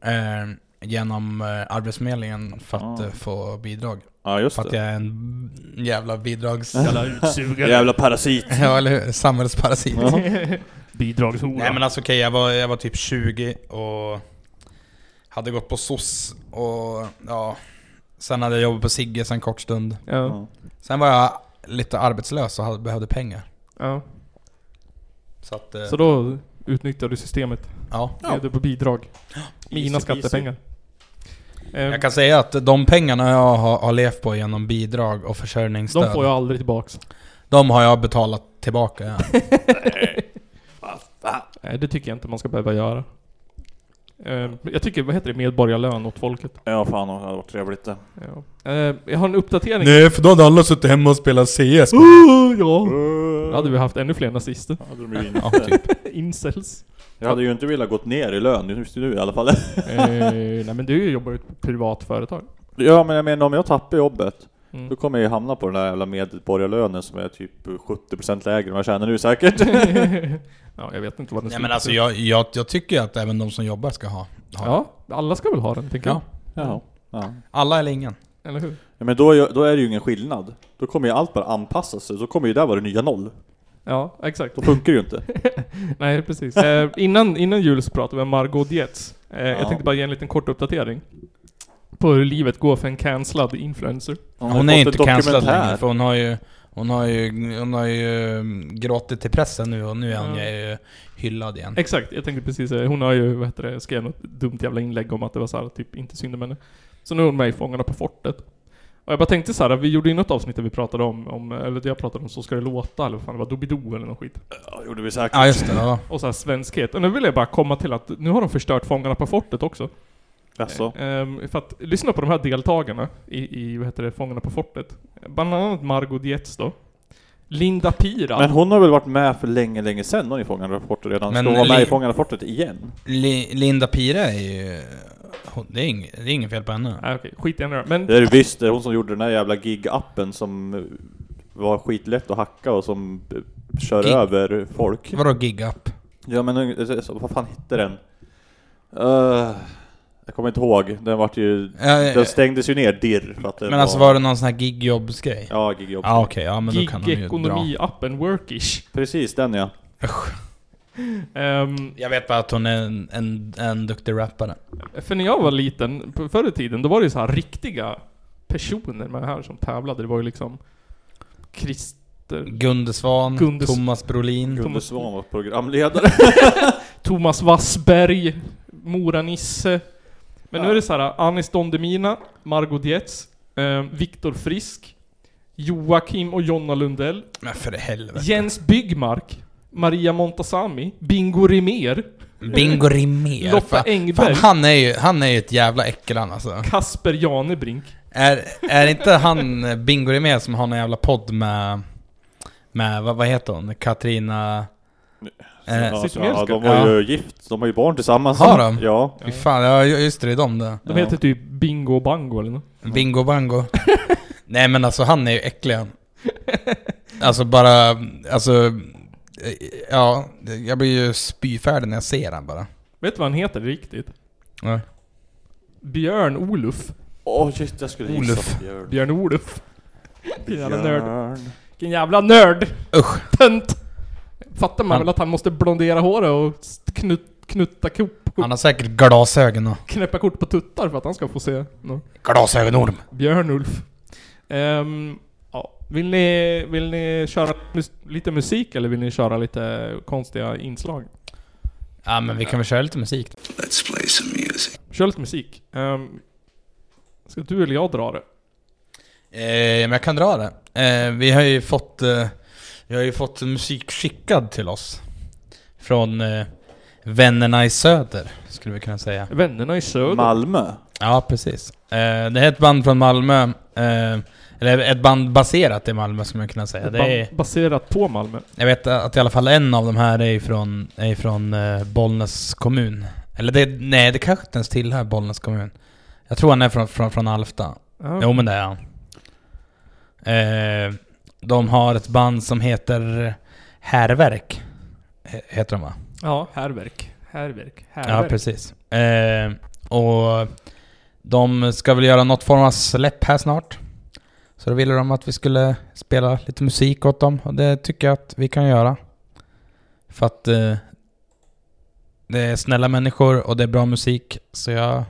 Speaker 2: eh, genom eh, Arbetsförmedlingen för att
Speaker 3: Ah.
Speaker 2: eh, få bidrag.
Speaker 3: ja, just
Speaker 2: För att
Speaker 3: det.
Speaker 2: jag är en jävla bidrags...
Speaker 1: Jävla utsugare.
Speaker 3: Jävla parasit.
Speaker 2: ja, eller hur? Samhällsparasit.
Speaker 1: Bidragshora.
Speaker 2: Nej men alltså okej, jag, var, jag var typ 20 och hade gått på SOS och ja... Sen hade jag jobbat på Sigges en kort stund.
Speaker 1: Ja.
Speaker 2: Sen var jag lite arbetslös och hade, behövde pengar.
Speaker 1: ja.
Speaker 2: Så att... eh,
Speaker 1: Så då utnyttjar du systemet.
Speaker 2: ja.
Speaker 1: Ja. Är på bidrag. Mina
Speaker 2: Easy peasy.
Speaker 1: skattepengar. Eh,
Speaker 2: Jag kan säga att de pengarna jag har, har levt på genom bidrag och försörjningsstöd,
Speaker 1: de får jag aldrig tillbaks.
Speaker 2: de har jag betalat tillbaka. Ja.
Speaker 1: Nej, det tycker jag inte man ska behöva göra. Eh, Jag tycker, vad heter det, medborgarlön åt folket.
Speaker 3: Ja, fan det hade varit trevligt det.
Speaker 1: Ja. Eh, Jag har en uppdatering.
Speaker 2: för då hade alla suttit hemma och spelat CS.
Speaker 1: Uh,
Speaker 3: Äh.
Speaker 1: ja. Då hade vi haft ännu fler nazister.
Speaker 3: Hade de ju
Speaker 2: Ja,
Speaker 3: inte.
Speaker 2: typ.
Speaker 1: Incels.
Speaker 3: Jag hade ju inte velat gått ner i lön just nu i alla fall.
Speaker 1: Eh, nej men du jobbar ju på ett privat företag.
Speaker 3: Ja, men jag menar om jag tappar jobbet,
Speaker 1: Mm.
Speaker 3: då kommer jag ju hamna på den där jävla medborgarlönen som är typ 70% lägre än vad jag tjänar nu säkert.
Speaker 1: ja, jag vet inte vad den skulle
Speaker 2: Nej men
Speaker 1: bli.
Speaker 2: alltså jag, jag, jag tycker ju att även de som jobbar ska ha. ha.
Speaker 1: Ja, alla ska väl ha den, tänker
Speaker 2: Ja.
Speaker 3: Ja. ja.
Speaker 2: Alla eller ingen.
Speaker 1: jag. Eller hur?
Speaker 3: Ja, men då, är ju- då är det ju ingen skillnad. Då kommer ju allt bara anpassa sig, då kommer ju där vara det nya noll.
Speaker 1: Ja, exakt.
Speaker 3: Då funkar det ju inte.
Speaker 1: Nej, precis. Eh, innan, innan jul så pratade vi om Margot Dietz. Eh,
Speaker 3: Ja.
Speaker 1: Jag tänkte bara ge en liten kort uppdatering. På hur livet går för en cancellad influencer.
Speaker 3: Hon,
Speaker 2: Hon är inte cancellad längre för hon har ju hon har ju, hon har ju mm, gråtit till pressen nu och nu är hon
Speaker 1: Ja.
Speaker 2: ju hyllad igen.
Speaker 1: Exakt, jag tänkte precis säga. Hon har ju, vad heter det, skrev något dumt jävla inlägg om att det var så här, typ inte synd om henne. Så nu är hon med i Fångarna på fortet. Och jag bara tänkte så här, vi gjorde ju något avsnitt där vi pratade om, om eller jag pratade om Så ska det låta, eller vad fan det var, Doobidoo eller någon skit.
Speaker 3: Ja, gjorde vi säkert.
Speaker 2: Ja just det, ja.
Speaker 1: Och så här svenskhet. Och nu vill jag bara komma till att nu har de förstört Fångarna på fortet också.
Speaker 3: Alltså.
Speaker 1: Ehm, för att lyssna på de här deltagarna i, i vad heter det, Fångarna på fortet. Bland annat Margot Dietz då. Linda Pira.
Speaker 3: Men hon har väl varit med för länge, länge sedan hon i Fångarna på fortet redan?
Speaker 2: Men
Speaker 3: Ska hon vara med
Speaker 2: li-
Speaker 3: i Fångarna på fortet igen?
Speaker 2: Li, Linda Pira är ju... hon- Det är, ing, det är inget fel på henne.
Speaker 1: Nej, Ah, okej, skit i henne då. Men
Speaker 3: Det är det visst, det är hon som gjorde den här jävla gig-appen som eh, var skitlätt att hacka och som eh, kör
Speaker 2: Gig-
Speaker 3: över folk.
Speaker 2: Vadå gig-up?
Speaker 3: Ja men eh, så- vad fan hette den? Eh, jag kommer inte ihåg, den vart ju...
Speaker 2: Eh,
Speaker 3: Den stängdes ju ner dirr för att det
Speaker 2: Men alltså var det någon sån här gigjobbsgrej? Ja
Speaker 3: Ja, gig
Speaker 2: ah, okej, ja men då kan de ju dra.
Speaker 1: gigekonomi-appen Workish.
Speaker 3: Precis, den ja.
Speaker 1: Ehm,
Speaker 2: Jag vet bara att hon är en, en, en duktig rappare.
Speaker 1: för när jag var liten, på- förr i tiden, då var det ju så här riktiga personer med här som tävlade. Det var ju liksom Christer,
Speaker 2: Gunde Svan,
Speaker 1: Gunde S-
Speaker 2: Thomas Brolin.
Speaker 3: Gunde
Speaker 1: Thomas-
Speaker 3: Svan var programledare.
Speaker 1: Thomas Wassberg, Mora-Nisse. Men nu
Speaker 3: Ja.
Speaker 1: är det så här, Anis Don Demina, Margot Dietz, eh, Viktor Frisk, Joakim och Jonna Lundell,
Speaker 2: Men för helvete.
Speaker 1: Jens Byggmark, Maria Montazami, Bingo Rimér,
Speaker 2: Bingo Rimér.
Speaker 1: Lotta
Speaker 2: fan-
Speaker 1: Engberg.
Speaker 2: Fan, han, är ju, han är ju ett jävla äckelan alltså.
Speaker 1: Kasper Janebrink.
Speaker 2: Är, är inte han eh, Bingo Rimér som har någon jävla podd med... Med, vad, vad heter hon? Katrina... Eh,
Speaker 3: ja, så, ja,
Speaker 1: Zytomierska.
Speaker 3: de var ju gift, de har ju barn tillsammans.
Speaker 2: Har de?
Speaker 3: Ja.
Speaker 2: fy fan, ja just det, det är de där.
Speaker 1: De heter typ Bingo och Bango eller nåt.
Speaker 2: Bingo Bango. Nej men alltså han är ju äcklig han. Alltså bara, alltså... eh, Ja, jag blir ju spyfärdig när jag ser han bara.
Speaker 1: Vet du vad han heter riktigt?
Speaker 2: Nej.
Speaker 1: Björn Oluf.
Speaker 3: Åh shit, jag skulle gissa
Speaker 2: Olof.
Speaker 3: på Björn.
Speaker 1: Björn Oluf. Vilken jävla nörd.
Speaker 3: Björn.
Speaker 1: Vilken jävla nörd!
Speaker 2: Usch.
Speaker 1: Tönt! Fattar man
Speaker 2: Han-
Speaker 1: väl att han måste blondera håret och st- knut, knutta kop,
Speaker 2: Han har säkert glasögon och...
Speaker 1: knäppa kort på tuttar för att han ska få se no.
Speaker 2: Glasögonorm!
Speaker 1: Björnulf. Ehm, ja. vill, ni, vill ni köra mus- lite musik eller vill ni köra lite konstiga inslag?
Speaker 2: Ja men vi kan väl köra lite musik då.
Speaker 6: Let's play some music.
Speaker 1: Kör lite musik. Ehm, ska du eller jag dra det?
Speaker 2: Eh, men jag kan dra det. Eh, vi har ju fått... Eh, vi har ju fått musik skickad till oss. Från eh, vännerna i söder, skulle vi kunna säga.
Speaker 1: Vännerna i söder.
Speaker 3: Malmö.
Speaker 2: Ja, precis. Eh, det är ett band från Malmö. Eh, eller ett band baserat i Malmö skulle man kunna säga.
Speaker 1: Ett
Speaker 2: Det är,
Speaker 1: band Baserat på Malmö.
Speaker 2: jag vet att i alla fall en av de här är från, är från eh, Bollnäs kommun. Eller det, nej, det kanske inte ens tillhör Bollnäs kommun.
Speaker 1: Mm.
Speaker 2: Jag tror han är från, från, från Alfta.
Speaker 1: Ja.
Speaker 2: Jo men det är han. Eh, De har ett band som heter Härverk. He- Heter de va?
Speaker 1: Ja, härverk. Härverk.
Speaker 2: Ja,
Speaker 1: Härverk.
Speaker 2: precis. Eh, och de ska väl göra något form av släpp här snart. Så då ville de att vi skulle spela lite musik åt dem och det tycker jag att vi kan göra. För att eh, det är snälla människor och det är bra musik så jag...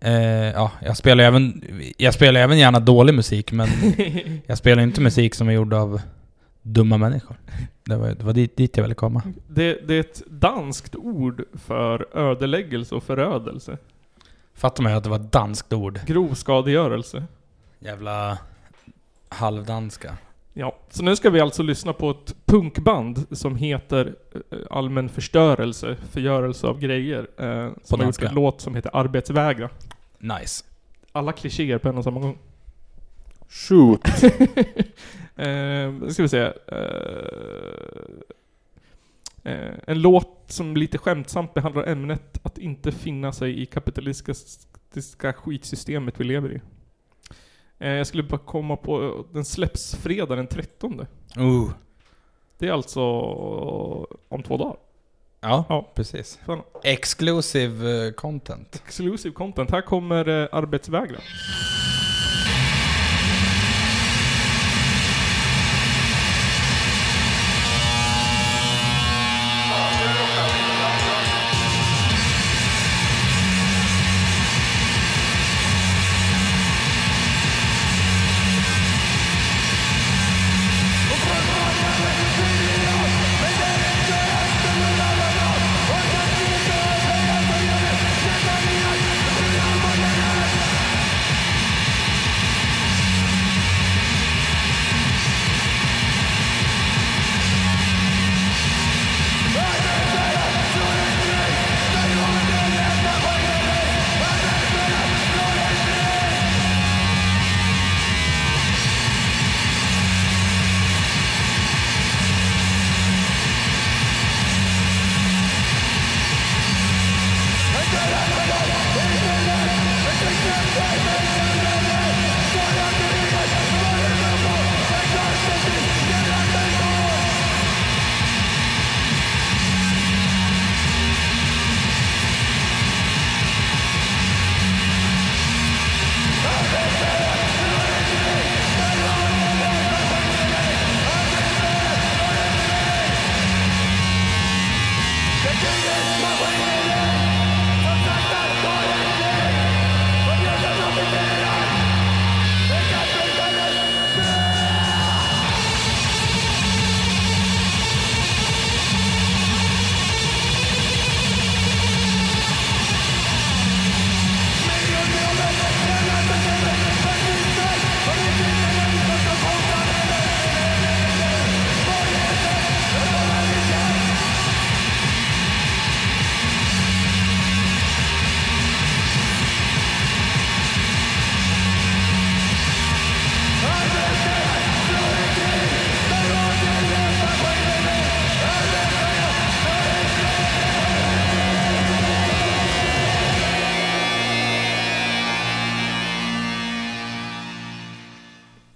Speaker 2: Eh, ja, jag spelar även, jag spelar även gärna dålig musik men jag spelar inte musik som är gjord av dumma människor. Det var, det var dit, dit jag ville komma.
Speaker 1: det, det är ett danskt ord för ödeläggelse och förödelse.
Speaker 2: Fattar man ju att det var ett danskt ord.
Speaker 1: Grov skadegörelse.
Speaker 2: Jävla halvdanska.
Speaker 1: Ja, så nu ska vi alltså lyssna på ett punkband som heter eh, Allmän förstörelse, förgörelse av grejer. Eh, som har gjort
Speaker 2: danska.
Speaker 1: en låt som heter Arbetsvägra.
Speaker 2: Nice.
Speaker 1: Alla klichéer på en och samma gång.
Speaker 3: Shoot.
Speaker 1: eh, nu ska vi se. Eh, eh, en låt som lite skämtsamt behandlar ämnet att inte finna sig i kapitalistiska skitsystemet vi lever i. Eh, jag skulle bara komma på, eh, den släpps fredag den 13.
Speaker 2: Uh.
Speaker 1: Det är alltså eh, om två dagar.
Speaker 2: Ja,
Speaker 1: Ja.
Speaker 2: precis.
Speaker 1: Fan.
Speaker 2: Exclusive eh, content.
Speaker 1: Exclusive content. Här kommer eh, arbetsvägra.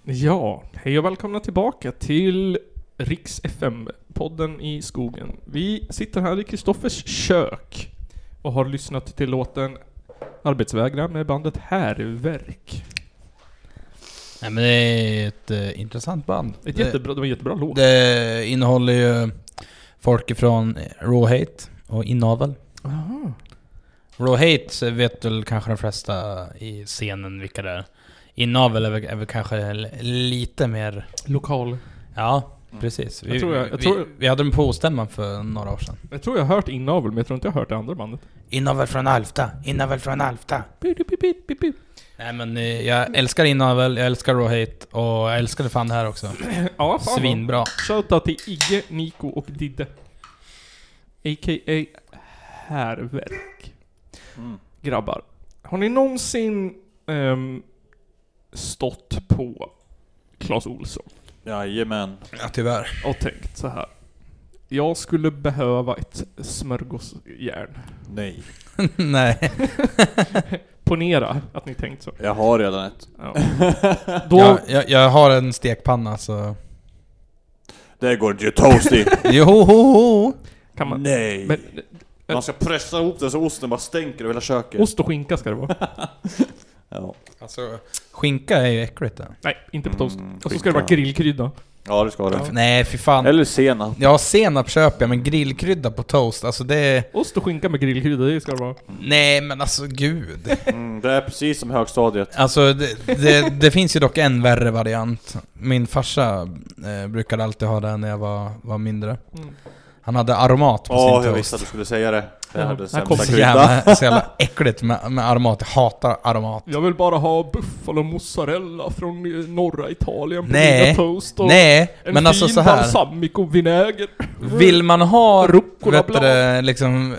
Speaker 1: Ja, hej och välkomna tillbaka till Riks FM-podden i skogen. Vi sitter här i Kristoffers kök och har lyssnat till låten Arbetsvägra med bandet Härverk.
Speaker 2: Nej men det är ett eh, intressant band.
Speaker 1: Ett
Speaker 2: det,
Speaker 1: jättebra, det var en jättebra låt.
Speaker 2: det innehåller ju folk ifrån eh, Raw Hate och Innavel.
Speaker 1: Aha.
Speaker 2: Raw Hate vet väl kanske de flesta i scenen vilka det är. Innavel är väl, är väl kanske l- lite mer...
Speaker 1: Lokal.
Speaker 2: Ja, precis. Vi,
Speaker 1: Mm. Jag tror jag- jag
Speaker 2: vi,
Speaker 1: tror-
Speaker 2: vi hade dem på stämman för några år sedan.
Speaker 1: Jag tror jag har hört inavel, men jag tror inte jag har hört det andra bandet.
Speaker 2: Inavel från Alfta, inavel från Alfta.
Speaker 1: Pip, pip, pip, pip, pip.
Speaker 2: Nej men eh, jag älskar inavel, jag älskar raw hate och jag älskar det fan det här också.
Speaker 1: Ja, fan vad-
Speaker 2: Svinbra.
Speaker 1: Shoutout till Igge, Niko och Didde. A.k.a. Härverk.
Speaker 3: Mm.
Speaker 1: Grabbar. Har ni någonsin ehm, stått på Clas Olsson
Speaker 3: Jajamän.
Speaker 2: Ja tyvärr.
Speaker 1: och tänkt så här. Jag skulle behöva ett smörgåsjärn.
Speaker 3: Nej.
Speaker 2: Nej.
Speaker 1: Ponera att ni tänkt så.
Speaker 3: Jag har redan ett.
Speaker 1: Ja. Då...
Speaker 2: Jag, jag, jag har en stekpanna så...
Speaker 3: Det går ju toast i.
Speaker 2: Johoho!
Speaker 1: Kan man...
Speaker 3: Nej.
Speaker 1: Men,
Speaker 3: Man ska pressa ihop den så osten bara stänker över hela köket.
Speaker 1: ost och skinka ska det vara.
Speaker 3: Ja.
Speaker 2: Alltså, skinka är ju äckligt det.
Speaker 1: Nej, inte på toast. och så ska
Speaker 3: skinka.
Speaker 1: det vara grillkrydda.
Speaker 3: ja, det ska det.
Speaker 2: Nej, fy fan.
Speaker 3: Eller senap.
Speaker 2: Ja, senap köper jag, men grillkrydda på toast, alltså det... är-
Speaker 1: Ost och skinka med grillkrydda, det ska det vara.
Speaker 2: Nej, men alltså gud.
Speaker 3: Mm, det är precis som högstadiet.
Speaker 2: Alltså, det, det, det finns ju dock en värre variant. Min farsa eh, brukade alltid ha det när jag var, var mindre.
Speaker 1: Mm.
Speaker 2: Han hade aromat på
Speaker 3: Åh,
Speaker 2: sin
Speaker 3: jag
Speaker 2: toast.
Speaker 3: visste att du skulle säga det. Det
Speaker 1: Ja,
Speaker 3: är den
Speaker 1: här kommer
Speaker 3: sämsta
Speaker 2: Så
Speaker 3: kryddan.
Speaker 2: jävla, så jävla äckligt med, med aromat, jag hatar aromat.
Speaker 1: Jag vill bara ha buffalo mozzarella från eh, norra Italien på
Speaker 2: Nej.
Speaker 1: mina toast och
Speaker 2: Nej,
Speaker 1: en
Speaker 2: men
Speaker 1: fin
Speaker 2: alltså så här.
Speaker 1: balsamicovinäger.
Speaker 2: Vill man ha,
Speaker 1: Rucola
Speaker 2: vet du det, liksom...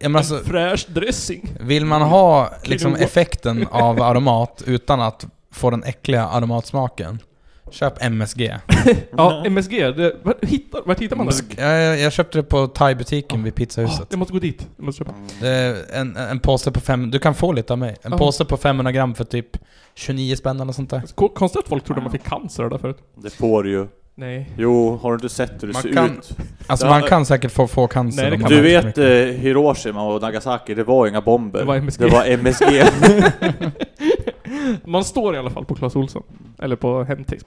Speaker 2: Jag menar alltså,
Speaker 1: Fräsch dressing.
Speaker 2: Vill man ha liksom
Speaker 1: Quinoa.
Speaker 2: effekten av aromat utan att få den äckliga aromatsmaken? Köp MSG.
Speaker 1: Ja, MSG, det, vart, hittar, vart hittar man det?
Speaker 2: Jag, jag köpte det på thai-butiken vid
Speaker 1: Ah,
Speaker 2: pizzahuset.
Speaker 1: jag måste gå dit. Jag måste köpa.
Speaker 2: Det är en, en påse på fem... Du kan få lite av mig. En
Speaker 1: Ja.
Speaker 2: påse på 500 gram för typ 29 spänn eller sånt där.
Speaker 1: Ko- Konstigt att folk trodde man fick cancer där förut.
Speaker 3: Det får du ju.
Speaker 1: Nej.
Speaker 3: Jo, har du inte sett hur det
Speaker 2: Man
Speaker 3: ser
Speaker 2: kan-
Speaker 3: ut?
Speaker 2: Alltså
Speaker 3: Ja,
Speaker 2: man
Speaker 3: eh,
Speaker 2: kan säkert få, få cancer
Speaker 1: Nej, det
Speaker 2: om
Speaker 1: kan
Speaker 2: man
Speaker 3: Du
Speaker 2: äter för
Speaker 3: vet
Speaker 2: mycket.
Speaker 3: eh, Hiroshima och Nagasaki, det var inga bomber.
Speaker 1: Det var MSG.
Speaker 3: Det var MSG.
Speaker 1: Man står i alla fall på Clas Ohlson. Eller på Hemtex.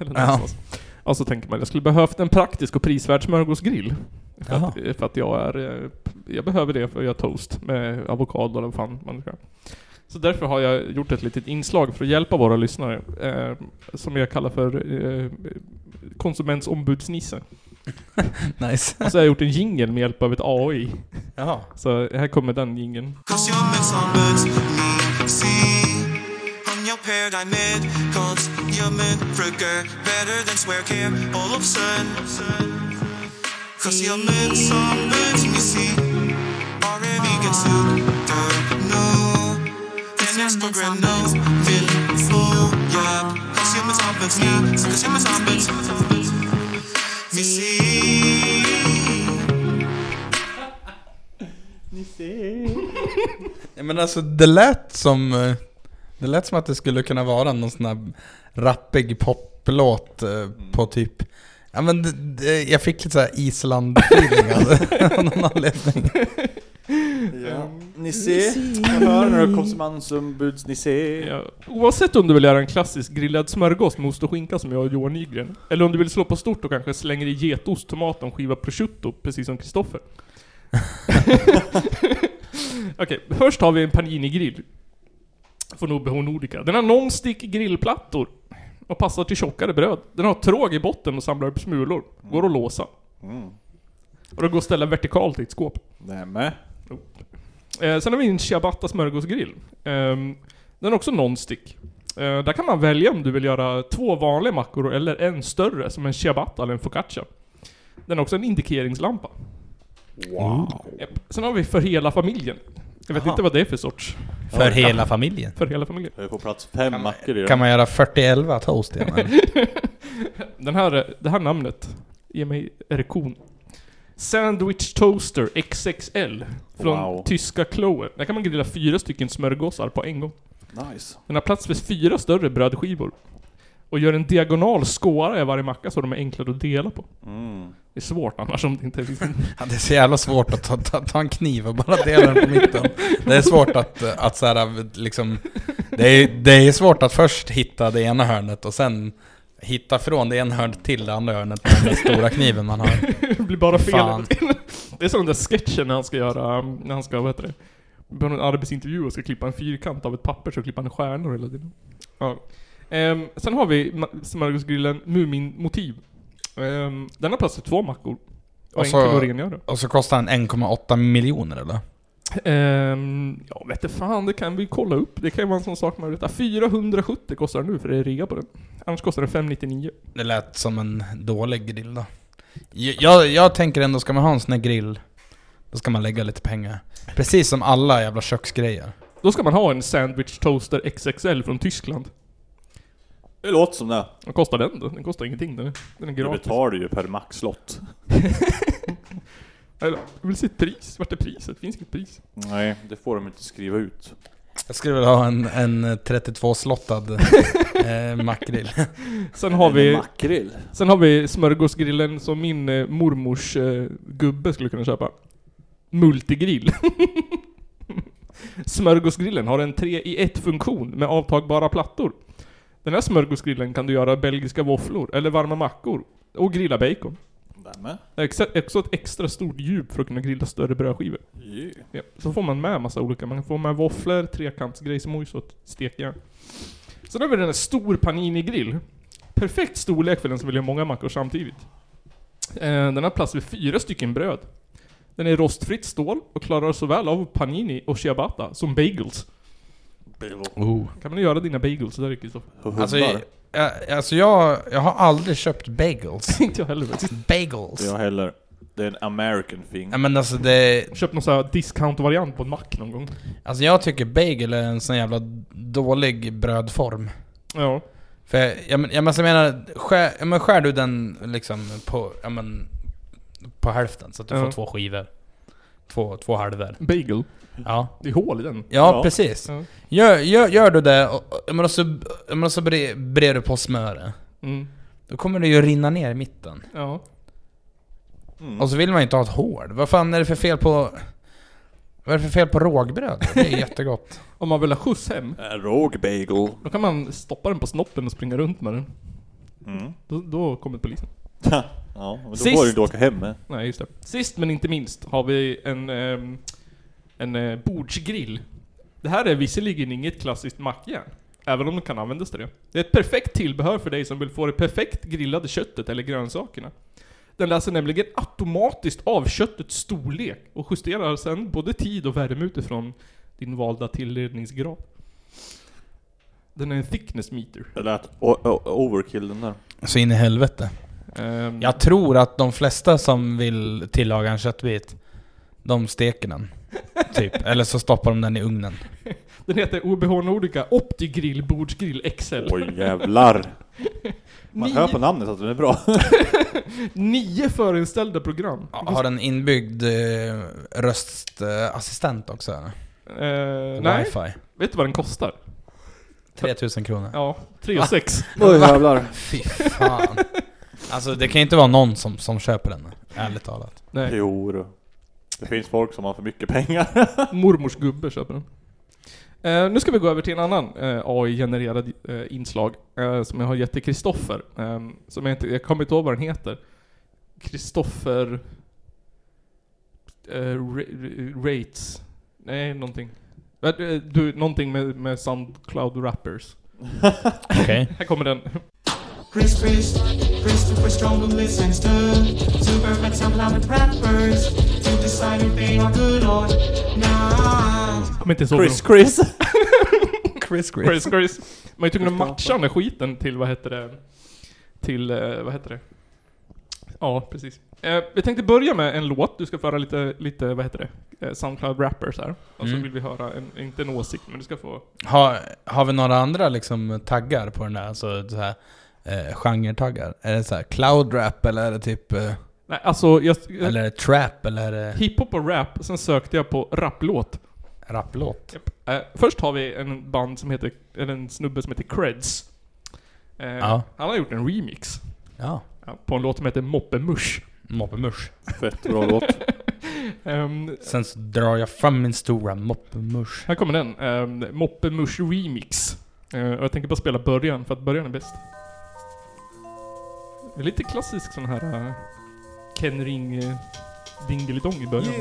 Speaker 1: Eller
Speaker 2: Ja.
Speaker 1: någonstans. Och så tänker man, jag skulle behövt en praktisk och prisvärd smörgåsgrill. För
Speaker 2: Jaha.
Speaker 1: att, för att jag är... eh, Jag behöver det för att göra toast med avokado eller vad fan man ska. Så därför har jag gjort ett litet inslag för att hjälpa våra lyssnare. Eh, som jag kallar för eh, konsumentsombudsnisse.
Speaker 2: Nice.
Speaker 1: Och så har jag gjort en jingle med hjälp av ett AI.
Speaker 2: Jaha.
Speaker 1: Så här kommer den jingeln.
Speaker 6: Cause you're misunderstood. mm, See, I'm your paradigm cons You're meant rigor, better than swear care, all of sun. Cause you're misunderstood, you see. Already gets super no. Then there's program no, been full, yup. Cause you're misunderstood, me, mm, cause you're misunderstood. Me see.
Speaker 2: Ja, men alltså det lät som... eh, Det lät som att det skulle kunna vara någon sån här rappig poplåt eh, på typ... Ja men det, det, jag fick lite såhär Island-feeling alltså, av någon anledning.
Speaker 3: ja. Ni ser, jag hör när du kom som ansombuds, ni ser.
Speaker 1: Ja, Eh, oavsett om du vill göra en klassisk grillad smörgås med ost och skinka som jag och Johan Nygren, eller om du vill slå på stort och kanske slänger i getost, tomat och en skiva prosciutto, precis som Kristoffer. Okej, först har vi en Panini-grill. Från Obeho Nordica. Den har non-stick grillplattor. Och passar till tjockare bröd. Den har tråg i botten och samlar upp smulor. Går att låsa. Och det går att ställa vertikalt i ett skåp.
Speaker 3: Nämen.
Speaker 1: Eh, sen har vi en ciabatta smörgåsgrill. Ehm, den är också non-stick. Eh, där kan man välja om du vill göra två vanliga mackor eller en större som en ciabatta eller en focaccia. Den har också en indikeringslampa.
Speaker 3: Wow.
Speaker 1: Japp. Sen har vi för hela familjen. Jag vet
Speaker 3: Aha.
Speaker 1: inte vad det är för sorts.
Speaker 2: För hela familjen.
Speaker 1: För hela familjen.
Speaker 3: Jag är på plats fem mackor i
Speaker 2: Kan
Speaker 3: den.
Speaker 2: man göra 40-11 toast igen eller?
Speaker 1: Den här, det här namnet ger mig erektion. Sandwich Toaster XXL. Från
Speaker 3: Wow.
Speaker 1: tyska Kloer. Där kan man grilla fyra stycken smörgåsar på en gång.
Speaker 3: Nice.
Speaker 1: Den har plats för fyra större brödskivor. Och gör en diagonal skåra i varje macka så de är enklare att dela på.
Speaker 3: Mm.
Speaker 1: Det är svårt annars om det inte finns en...
Speaker 2: Ja, det är så jävla svårt att ta, ta, ta en kniv och bara dela den på mitten. Det är svårt att, eh, att så här, liksom... Det är, det är svårt att först hitta det ena hörnet och sen hitta från det ena hörnet till det andra hörnet med den där stora kniven man har.
Speaker 1: Det liksom- blir bara fel.
Speaker 2: Fan.
Speaker 1: Det är som den där sketchen när han ska göra, um, när han ska, vad heter det? På en arbetsintervju och ska klippa en fyrkant av ett papper så klipper han stjärnor hela tiden. Ja. Ehm, sen har vi ma- smörgåsgrillen Mumin-motiv. Ehm, den har plats för två mackor. Och,
Speaker 2: Och
Speaker 1: en
Speaker 2: så-
Speaker 1: kalorengörare.
Speaker 2: Och så kostar den 1,8 miljoner eller?
Speaker 1: Ehm, ja, vet du fan, det kan vi kolla upp. Det kan ju vara en sån sak man vet. 470 kostar den nu för det är rea på den. Annars kostar den 599.
Speaker 2: Det lät som en dålig grill då. Jag, jag, jag tänker ändå, ska man ha en sån här grill, då ska man lägga lite pengar. Precis som alla jävla köksgrejer.
Speaker 1: Då ska man ha en sandwich toaster XXL från Tyskland.
Speaker 3: Det låter som det.
Speaker 1: Vad kostar den då? Den kostar ingenting. Den är, den är
Speaker 3: Du
Speaker 1: gratis.
Speaker 3: betalar ju per maxlott.
Speaker 1: Eller, jag vill se ett pris. Vart är priset? Finns inget pris.
Speaker 3: Nej, det får de inte skriva ut.
Speaker 2: Jag skulle vilja ha en, en 32-slottad eh, makrill.
Speaker 1: Sen har vi,
Speaker 3: Makrill.
Speaker 1: sen har vi smörgåsgrillen som min eh, mormors eh, gubbe skulle kunna köpa. Multigrill. smörgåsgrillen har en 3 i 1 funktion med avtagbara plattor. Den här smörgåsgrillen kan du göra belgiska våfflor eller varma mackor och grilla bacon.
Speaker 3: Nämen.
Speaker 1: Exa- Också ett extra stort djup för att kunna grilla större brödskivor.
Speaker 3: Yeah.
Speaker 1: Ja, så får man med massa olika. Man får med våfflor, trekantsgrejsmojs och ett stekjärn. Sen har vi den här stor panini-grill. Perfekt storlek för den som vill göra många mackor samtidigt. Eh, Den har plats för fyra stycken bröd. Den är rostfritt stål och klarar såväl av panini och ciabatta som bagels.
Speaker 2: Oh.
Speaker 1: Kan man göra dina bagels där Kristoffer?
Speaker 3: Och
Speaker 2: Alltså,
Speaker 3: hundar.
Speaker 2: jag, jag- alltså jag, jag har aldrig köpt bagels.
Speaker 1: Inte jag heller faktiskt.
Speaker 2: Bagels?
Speaker 3: Jag heller. Det är en American thing.
Speaker 2: Nej men alltså det,
Speaker 1: Köpt någon sån här discount-variant på en mack någon gång.
Speaker 2: alltså jag tycker bagel är en sån jävla dålig brödform.
Speaker 1: Ja.
Speaker 2: För jag, jag, men- jag, men- jag menar, skär, jag men, skär du den liksom på, jag men, på hälften så att du
Speaker 1: Ja.
Speaker 2: får två skivor. Två, två halvor.
Speaker 1: Bagel.
Speaker 2: Ja.
Speaker 1: Det är hål i den.
Speaker 2: Ja,
Speaker 3: Ja.
Speaker 2: precis.
Speaker 1: Ja.
Speaker 2: Gör, gör, gör du det, och, alltså, och, jag menar, så, jag menar, så bre, brer du på smöret.
Speaker 1: Mm.
Speaker 2: Då kommer det ju rinna ner i mitten.
Speaker 1: Ja.
Speaker 2: Och så vill man ju inte ha ett hål. Vad fan är det för fel på... Vad är det för fel på rågbröd? Det är jättegott.
Speaker 1: Om man vill ha skjuts hem,
Speaker 3: En Rogue bagel.
Speaker 1: då kan man stoppa den på snoppen och springa runt med den. Då, då kommer polisen.
Speaker 3: ja, men då
Speaker 1: Sist.
Speaker 3: går det ju inte att åka hem med.
Speaker 1: Nej, just det. Sist men inte minst har vi en, ehm, en eh, bordsgrill. Det här är visserligen inget klassiskt mackjärn, även om det kan användas till det. Det är ett perfekt tillbehör för dig som vill få det perfekt grillade köttet eller grönsakerna. Den läser nämligen automatiskt av köttets storlek och justerar sedan både tid och värme utifrån din valda tillredningsgrad. Den är en thickness meter.
Speaker 3: Det lät o- o- overkill den där.
Speaker 2: Så in i helvete.
Speaker 1: Ehm,
Speaker 2: Jag tror att de flesta som vill tillaga en köttbit, de steker den. Typ. Eller så stoppar de den i ugnen.
Speaker 1: Den heter OBH Nordica OptiGrill Bordsgrill XL.
Speaker 3: Oj jävlar. Man
Speaker 1: Nio.
Speaker 3: hör på namnet att den är bra.
Speaker 1: Nio förinställda program.
Speaker 2: Ja, Har den inbyggd eh, röstassistent också? eller?
Speaker 1: Eh, nej,
Speaker 2: Wifi.
Speaker 1: vet du vad den kostar?
Speaker 2: 3000 kronor.
Speaker 1: Ja, 3 och 6.
Speaker 3: Oj jävlar.
Speaker 2: Fy fan. Alltså det kan ju inte vara någon som, som köper den, ärligt talat.
Speaker 1: Nej,
Speaker 3: Jo du. Det finns folk som har för mycket pengar.
Speaker 1: mormors gubbe köper den. Eh, nu ska vi gå över till en annan eh, AI-genererad eh, inslag eh, som jag har gett till Kristoffer. Eh, som jag inte, jag kommer inte ihåg vad den heter. Kristoffer... Eh, ra- ra- rates. Nej, någonting. Eh, Du, någonting med, med Soundcloud Rappers.
Speaker 2: Okej.
Speaker 1: Här kommer den.
Speaker 6: Chris Chris, Christopher Strong who listens to super fans of loud rappers to decide if they are good or not.
Speaker 1: Kom inte så
Speaker 3: Chris Chris.
Speaker 2: Chris
Speaker 1: Chris, Chris. Man är tvungen att matcha den där skiten till, vad heter det? Till, eh, vad heter det? Ja, precis. Eh, vi tänkte börja med en låt, du ska föra lite, lite vad heter det? Eh, Soundcloud rappers här. Och så
Speaker 2: Mm.
Speaker 1: vill vi höra, en, inte en åsikt, men du ska få...
Speaker 2: Har, har vi några andra liksom taggar på den där? Alltså så här, eh, genre-taggar? Är det så här cloud rap eller är det typ... Eh,
Speaker 1: Nej, alltså jag...
Speaker 2: eller är det trap eller är det
Speaker 1: Hiphop och rap, sen sökte jag på rapplåt.
Speaker 2: raplåt?
Speaker 1: Eh, först har vi en band som heter, eller en snubbe som heter Creds. Eh,
Speaker 2: Ja.
Speaker 1: Han har gjort en remix.
Speaker 2: Ja.
Speaker 1: ja, På en låt som heter Moppe Mush.
Speaker 2: Moppemusch.
Speaker 3: Fett bra låt.
Speaker 1: Ehm,
Speaker 2: Sen så drar jag fram min stora moppemusch.
Speaker 1: Här kommer den. Um, Moppe Mush Remix. Eh, och jag tänker bara spela början, för att början är bäst. Det är lite klassisk sån här uh, Ken Ring uh, Dingelidong i början.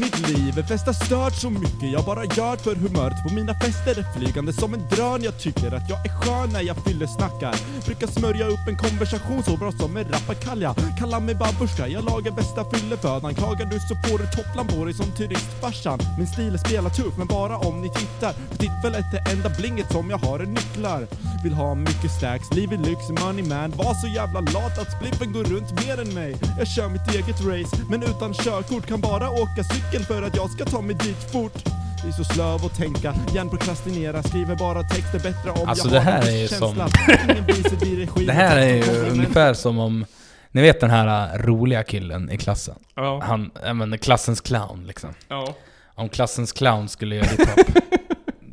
Speaker 7: Mitt liv är festa stört så mycket jag bara gör för humöret på mina fester är flygande som en drön Jag tycker att jag är skön när jag fyller snackar Brukar smörja upp en konversation så bra som en rappakalja Kalla mig babushka, jag lagar bästa fyllefödan Klagar du så får du topplan på dig som turistfarsan Min stil är spela tuff men bara om ni tittar För tillfället är enda blinget som jag har är nycklar Vill ha mycket stacks, liv i lyx, money man Var så jävla lat att spliffen går runt mer än mig Jag kör mitt eget race, men utan körkort Kan bara åka cykel för att jag ska ta mig dit fort Det är så slöv att tänka, hjärnprokrastinera Skriver bara texter bättre om
Speaker 2: Alltså,
Speaker 7: jag
Speaker 2: det
Speaker 7: har
Speaker 2: här
Speaker 7: en
Speaker 2: är ju
Speaker 7: känsla. Ingen vice dirigerar.
Speaker 2: Det här är ju ungefär som om... Ni vet den här eh, roliga killen i klassen?
Speaker 1: Ja,
Speaker 2: Han, ja men klassens clown liksom.
Speaker 1: ja.
Speaker 2: Om klassens clown skulle göra hiphop.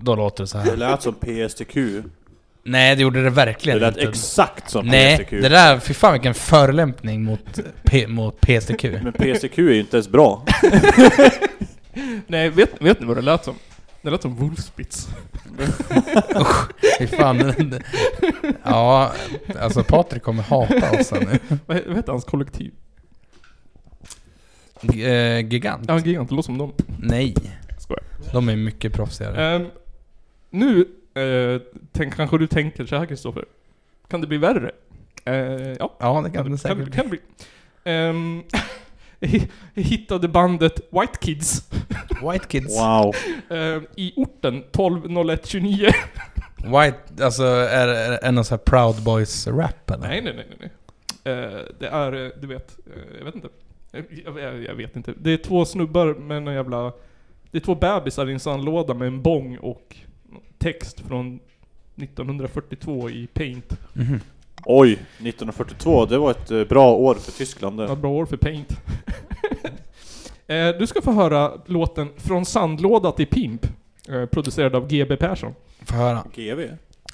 Speaker 2: då låter det så
Speaker 3: Det
Speaker 2: här.
Speaker 3: lät som PSTQ.
Speaker 2: Nej, det gjorde det verkligen
Speaker 3: Det lät
Speaker 2: inte.
Speaker 3: exakt som
Speaker 2: Nej,
Speaker 3: PSTQ.
Speaker 2: det där, fy fan vilken förolämpning mot, P, mot PSTQ.
Speaker 3: Men PSTQ är ju inte ens bra.
Speaker 1: Nej, vet, vet ni vad det lät som? Det lät som Wolfspitz.
Speaker 2: Fy fan. den- den- Ja, alltså Patrik kommer hata oss här
Speaker 1: Vad he- vad heter hans kollektiv?
Speaker 2: nu. Eh, Gigant?
Speaker 1: Ja, Gigant. Det låter som dem.
Speaker 2: Nej.
Speaker 1: Skojar.
Speaker 2: De är mycket proffsigare.
Speaker 1: Ehm, nu eh, tänk, kanske du tänker så här Kristoffer. Kan det bli värre? Eh, ja,
Speaker 2: Ja, det
Speaker 1: kan
Speaker 2: kan det
Speaker 1: det kan,
Speaker 2: säkert
Speaker 1: kan det bli. Ehm, jag hittade bandet White Kids
Speaker 2: White Kids.
Speaker 3: Wow.
Speaker 1: ehm, i orten 120129.
Speaker 2: White, alltså är, är det en av så här Proud Boys rap eller?
Speaker 1: Nej, nej, nej, nej, nej. Eh, det är, eh, du vet, eh, jag vet inte. Eh, Jag, jag, jag vet inte. Det är två snubbar med en jävla... Det är två bebisar i en sandlåda med en bong och text från 1942 i Paint.
Speaker 2: Mhm.
Speaker 3: Oj, 1942. Det var ett eh, bra år för Tyskland
Speaker 1: Vad
Speaker 3: det.
Speaker 1: bra år för Paint. eh, du ska få höra låten 'Från sandlåda till pimp' eh, Producerad av GB Persson.
Speaker 2: Får höra.
Speaker 3: GV.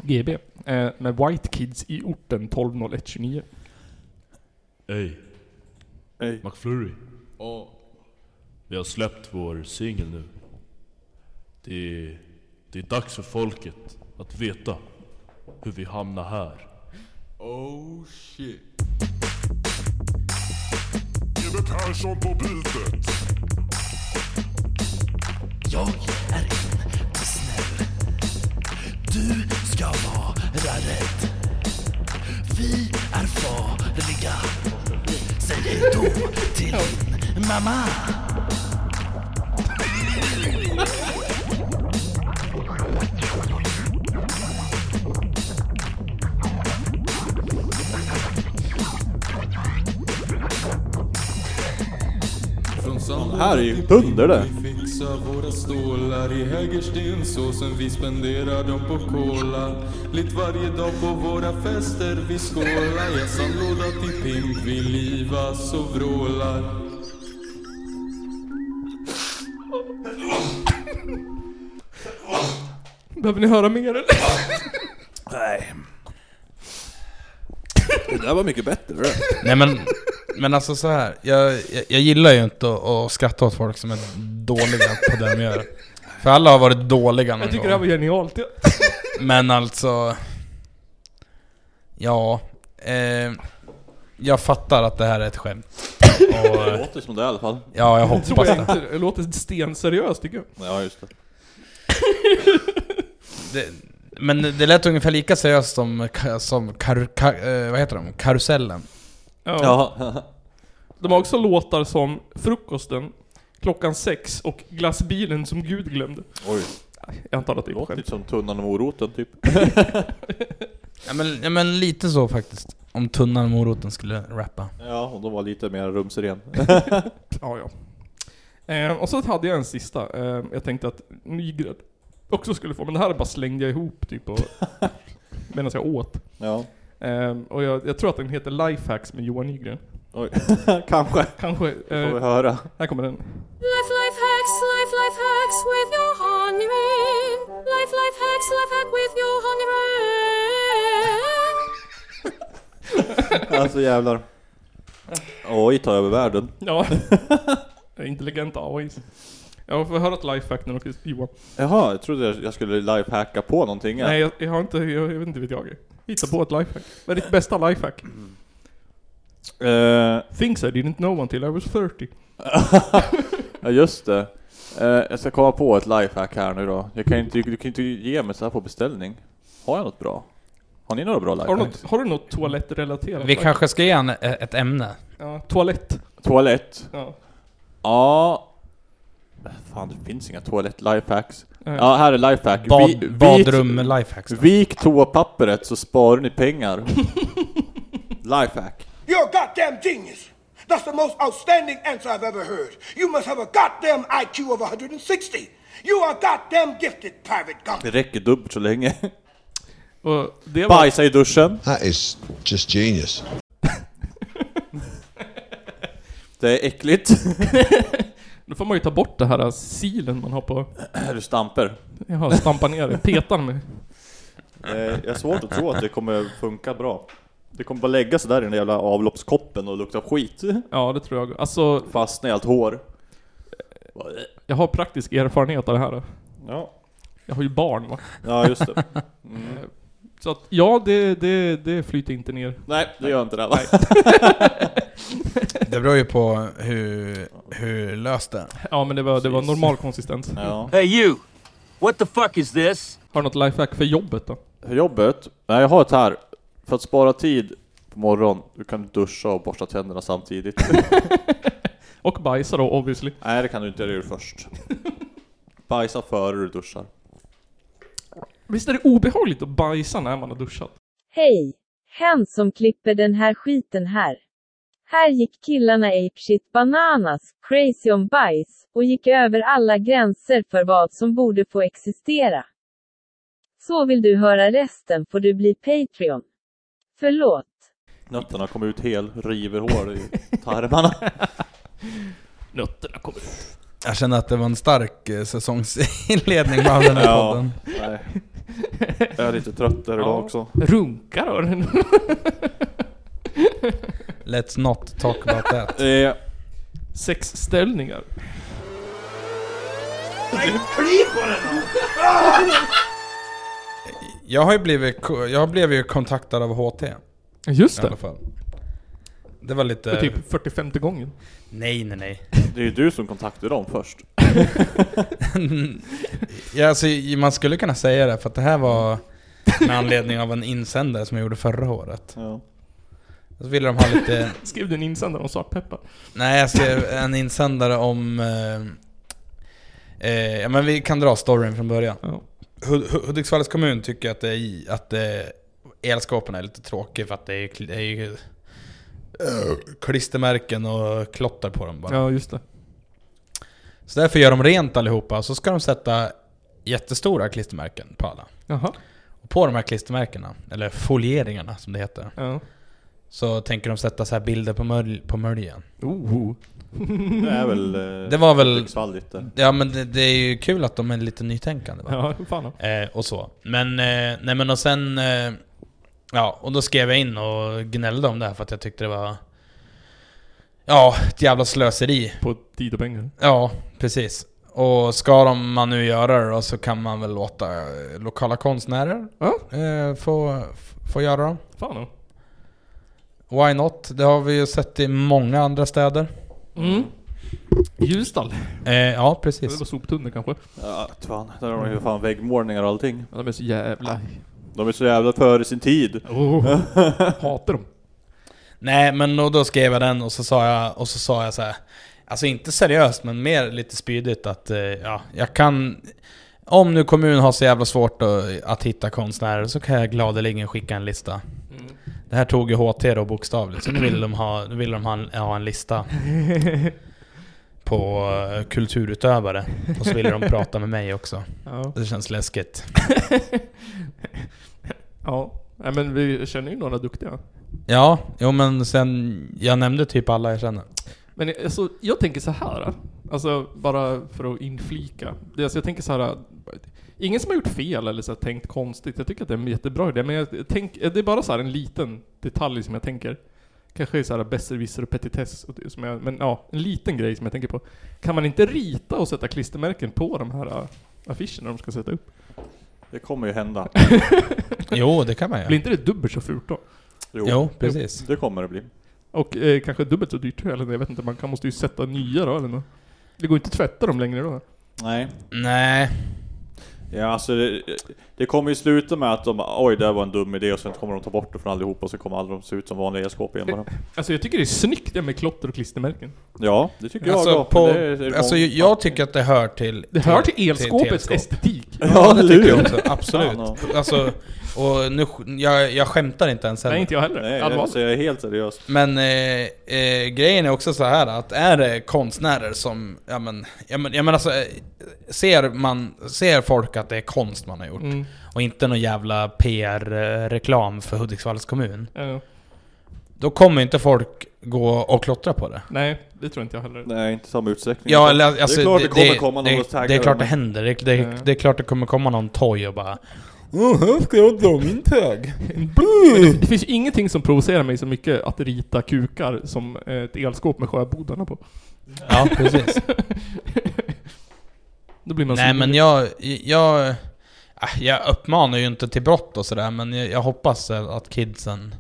Speaker 1: GB. Eh, med White Kids i orten 120129.
Speaker 8: Ey,
Speaker 3: Ey.
Speaker 8: McFlurry. Ja. Vi har släppt vår singel nu. Det är, det är dags för folket att veta hur vi hamnar här.
Speaker 9: GB Persson på beatet. Jag är inte snäll. Du ska vara rädd. Vi är farliga. Säg hej då till din mamma.
Speaker 3: Här är ju dunder det.
Speaker 10: Fixa våra stålar i hägerstensåsen Vi spenderar dem på cola Lite varje dag på våra fester Vi skålar Jag sandlåda till pimp Vi livas och vrålar
Speaker 1: Behöver ni höra mer eller?
Speaker 3: Nej. Det där var mycket bättre. Det.
Speaker 2: Nej men, men alltså så här. Jag, jag, jag gillar ju inte att, att skratta åt folk som är dåliga på det de gör. För alla har varit dåliga någon
Speaker 1: Jag tycker
Speaker 2: gång.
Speaker 1: det här var genialt.
Speaker 2: Men alltså... Ja... Eh, jag fattar att det här är ett skämt. Och,
Speaker 3: det
Speaker 2: eh,
Speaker 3: låter som det i alla fall.
Speaker 2: ja, jag
Speaker 1: Tror
Speaker 2: hoppas
Speaker 1: jag
Speaker 2: det.
Speaker 1: inte. Det låter stenseriöst tycker jag.
Speaker 3: Ja, just det.
Speaker 2: det. Men det lät ungefär lika seriöst som, ka- som kar, ka, eh, vad heter de? Karusellen.
Speaker 1: Ja.
Speaker 3: Ja.
Speaker 1: De har också låtar som 'Frukosten', 'Klockan sex' och 'Glassbilen som Gud glömde'.
Speaker 3: Oj.
Speaker 1: Jag antar att det
Speaker 3: Det
Speaker 1: är på
Speaker 3: låter
Speaker 1: skämt.
Speaker 3: lite som Tunnan och moroten typ.
Speaker 2: Ja men, ja men lite så faktiskt. Om tunnan och moroten skulle rappa.
Speaker 3: Ja, och de var lite mer rumsren.
Speaker 1: Ja, ja. Eh, och så hade jag en sista. Eh, jag tänkte att Nygren också skulle få, men det här bara slängde jag ihop typ och... Medan jag åt.
Speaker 3: Ja.
Speaker 1: Eh, och jag, jag tror att den heter 'Lifehacks' med Johan Nygren.
Speaker 3: Oj. Kanske.
Speaker 1: Kanske.
Speaker 3: Får vi
Speaker 1: Eh,
Speaker 3: höra.
Speaker 1: här kommer den.
Speaker 11: Life, life hacks, life, life hacks with your honey ring. Life, life hacks, life hack with your honey ring.
Speaker 3: Alltså jävlar. Oj, tar över världen.
Speaker 1: Ja. Intelligenta AIs. Jag får höra ett lifehack nu också, Johan.
Speaker 3: Jaha, jag trodde jag- jag skulle lifehacka på någonting. ja.
Speaker 1: Nej, jag, jag har inte, jag, jag vet inte vet jag. Hitta på ett lifehack. Vad är ditt bästa lifehack?
Speaker 3: Eh,
Speaker 1: Things I didn't know until I was 30.
Speaker 3: ja, just det. Eh, jag ska komma på ett lifehack här nu då. Jag kan inte, du kan inte ge mig så här på beställning. Har jag något bra? Har ni några bra
Speaker 1: Har du
Speaker 3: lifehacks?
Speaker 1: något, har du något toalettrelaterat?
Speaker 2: Vi
Speaker 1: lifehack?
Speaker 2: kanske ska ge en, eh, ett ämne.
Speaker 1: Ja, toalett.
Speaker 3: Toalett?
Speaker 1: Ja.
Speaker 3: Ja. Fan, det finns inga toalett-lifehacks.
Speaker 1: Eh,
Speaker 3: Ja, här är lifehack. Vi-
Speaker 2: Bad,
Speaker 3: vit-
Speaker 2: badrum lifehacks då.
Speaker 3: Vik toapappret så sparar ni pengar. Lifehack.
Speaker 9: You're a goddamn genius. That's the most outstanding answer I've ever heard. You must have a goddamn IQ of 160. You are goddamn gifted, Private Gump.
Speaker 3: Det räcker dubbelt så länge.
Speaker 1: Och det var...
Speaker 3: Bajsa i duschen.
Speaker 9: That is just genius.
Speaker 3: Det är äckligt.
Speaker 1: Då får man ju ta bort det här silen man har på...
Speaker 3: Du stamper.
Speaker 1: Jaha, stampa ner det. Petar mig.
Speaker 3: Eh, Jag har svårt att tro att det kommer funka bra. Det kommer bara lägga sig där i den jävla avloppskoppen och lukta skit.
Speaker 1: Ja, det tror jag. Alltså...
Speaker 3: Fastna i allt hår.
Speaker 1: Jag har praktisk erfarenhet av det här.
Speaker 3: Ja.
Speaker 1: Jag har ju barn va?
Speaker 3: Ja, just det.
Speaker 1: Eh, Så att, ja det, det, det flyter inte ner.
Speaker 3: Nej, det gör inte det, va?
Speaker 2: Det beror ju på hur, hur löst det är.
Speaker 1: ja men det var, det var normal konsistens.
Speaker 3: Ja.
Speaker 12: Hey you! What the fuck is this?
Speaker 1: Har du något lifehack för jobbet då?
Speaker 3: För Jobbet? Nej, jag har ett här. För att spara tid på morgonen, du kan duscha och borsta tänderna samtidigt.
Speaker 1: och bajsa då obviously.
Speaker 3: Nej, det kan du inte. Det gör du först. Bajsa före du duschar.
Speaker 1: Visst är det obehagligt att bajsa när man har duschat?
Speaker 13: Hej! Hen som klipper den här skiten här. Här gick killarna apeshit bananas, crazy om bajs, och gick över alla gränser för vad som borde få existera. Så vill du höra resten får du bli Patreon. Förlåt.
Speaker 3: Nötterna kommer ut hel, river hår i tarmarna.
Speaker 1: Nötterna kommer ut.
Speaker 2: Jag känner att det var en stark eh, säsongsinledning av den här
Speaker 3: Ja,
Speaker 2: podden.
Speaker 3: nej. Jag är lite trött där idag också.
Speaker 1: Runka då?
Speaker 2: Let's not talk about that.
Speaker 3: Eh,
Speaker 1: Sexställningar.
Speaker 2: Jag har ju blivit, ko- jag blev ju kontaktad av HT.
Speaker 1: Just
Speaker 2: I
Speaker 1: det.
Speaker 2: alla fall. Det var lite...
Speaker 1: För typ 45 gången.
Speaker 2: Nej, nej, nej.
Speaker 3: Det är ju du som kontaktade dem först.
Speaker 2: ja, alltså, man skulle kunna säga det, för att det här var med anledning av en insändare som jag gjorde förra året.
Speaker 3: Ja.
Speaker 2: Så ville de ha lite...
Speaker 1: Skrev du en insändare om svartpeppar?
Speaker 2: Nej, jag skrev en insändare om... eh, Eh, ja, men vi kan dra storyn från början. Hud- Hud- Hudiksvalls kommun tycker att, det är, i- att eh, elskåpen är lite tråkig för att det är, kl- det är ju, eh, klistermärken och klotter på dem bara.
Speaker 1: Ja just det.
Speaker 2: Så därför gör de rent allihopa och så ska de sätta jättestora klistermärken på alla.
Speaker 1: Jaha.
Speaker 2: Och på de här klistermärkena, eller folieringarna som det heter,
Speaker 1: Ja.
Speaker 2: så tänker de sätta så här bilder på, mölj, på möljen.
Speaker 1: Oh.
Speaker 3: Det är väl, eh,
Speaker 2: Det var väl...
Speaker 3: Hudiksvall lite.
Speaker 2: Ja men det, det är ju kul att de är lite nytänkande va?
Speaker 1: Ja, fan.
Speaker 2: Eh, och så. Men, eh, nej men och sen... Eh, ja, och då skrev jag in och gnällde om det här för att jag tyckte det var... Ja, ett jävla slöseri.
Speaker 1: På tid och pengar.
Speaker 2: Ja, precis. Och ska de, man nu göra det då, så kan man väl låta eh, lokala konstnärer eh, få, få göra dem.
Speaker 1: Fan då.
Speaker 2: Why not? Det har vi ju sett i många andra städer.
Speaker 1: Mm. Ljusdal.
Speaker 2: Eh, ja,
Speaker 1: Det
Speaker 2: precis.
Speaker 1: var soptunnor kanske.
Speaker 3: Ja, fan. Där har de ju fan väggmålningar och allting.
Speaker 1: De är så jävla...
Speaker 3: De är så jävla före sin tid.
Speaker 1: Oh. Hatar dem.
Speaker 2: Nej, men och då skrev jag den och så sa jag, och så sa jag så här. Alltså inte seriöst, men mer lite spydigt att eh, ja, jag kan... Om nu kommunen har så jävla svårt att, att hitta konstnärer så kan jag gladeligen skicka en lista. Det här tog ju HT då bokstavligt, så nu vill de ha, nu vill de ha, en, ha en lista på eh, kulturutövare. Och så ville de prata med mig också.
Speaker 1: Ja.
Speaker 2: Det känns läskigt.
Speaker 1: Ja. Nej men vi känner ju några duktiga.
Speaker 2: Ja, jo men sen... Jag nämnde typ alla jag känner.
Speaker 1: Men alltså, jag tänker så här. Alltså, bara för att inflika. Det, är alltså, jag tänker så här. Ingen som har gjort fel eller så här, tänkt konstigt. Jag tycker att det är en jättebra idé. Men jag tänk, det är bara så här en liten detalj som jag tänker. Kanske är så här besserwisser och petitess. och det som jag- Men ja, en liten grej som jag tänker på. Kan man inte rita och sätta klistermärken på de här äh, affischerna de ska sätta upp?
Speaker 3: Det kommer ju hända.
Speaker 2: Jo, det kan man
Speaker 1: Blir
Speaker 2: göra.
Speaker 1: inte det dubbelt så fult då?
Speaker 2: Jo, precis.
Speaker 3: Det kommer det bli.
Speaker 1: Och eh, kanske dubbelt så dyrt eller jag vet inte. Man kan, måste ju sätta nya då eller något. Det går inte att tvätta dem längre då.
Speaker 3: Nej.
Speaker 2: Nej.
Speaker 3: Ja, alltså det, det kommer ju sluta med att de oj det här var en dum idé och sen kommer de ta bort det från allihopa och så kommer alla de se ut som vanliga elskåp igen bara.
Speaker 1: Alltså jag tycker det är snyggt det med klotter och klistermärken.
Speaker 3: Ja, det tycker
Speaker 2: Alltså,
Speaker 3: jag då.
Speaker 2: på,
Speaker 3: men det är- det är
Speaker 2: alltså
Speaker 3: många-
Speaker 2: jag tycker att det hör till...
Speaker 1: Det hör till elskåpets
Speaker 2: till elskåp.
Speaker 1: estetik.
Speaker 2: Ja, det
Speaker 3: eller
Speaker 2: tycker
Speaker 3: hur?
Speaker 2: jag också. Absolut.
Speaker 3: Fan,
Speaker 2: Alltså, och nu, jag, jag skämtar inte ens heller.
Speaker 1: Nej, inte jag heller.
Speaker 3: Nej,
Speaker 1: Allvarligt.
Speaker 3: alltså, jag är helt seriös.
Speaker 2: Men eh, eh, grejen är också så här att är det konstnärer som, ja men, ja men, ja, men alltså, eh, ser, man, ser folk att det är konst man har gjort
Speaker 1: Mm.
Speaker 2: eh,
Speaker 1: Eh,
Speaker 2: och inte någon jävla PR-reklam för Hudiksvalls kommun,
Speaker 1: Ja.
Speaker 2: Då kommer inte folk gå och klottra på det.
Speaker 1: Nej, det tror inte jag heller.
Speaker 3: Nej, inte i samma utsträckning.
Speaker 2: Ja, eller, alltså,
Speaker 3: det är klart det, kommer komma någon
Speaker 2: det,
Speaker 3: och tagga
Speaker 2: det är klart det
Speaker 3: dem.
Speaker 2: händer. Det, det,
Speaker 3: Ja.
Speaker 2: det är klart det kommer komma någon toj och bara...
Speaker 1: Oh, här ska jag dra min tag. det, det finns ju ingenting som provocerar mig så mycket att rita kukar som eh, ett elskåp med sjöbodarna på.
Speaker 2: Ja, precis.
Speaker 1: Då blir man
Speaker 2: Nej
Speaker 1: sur.
Speaker 2: men jag, jag, ah, jag uppmanar ju inte till brott och sådär men jag, jag hoppas eh, att kidsen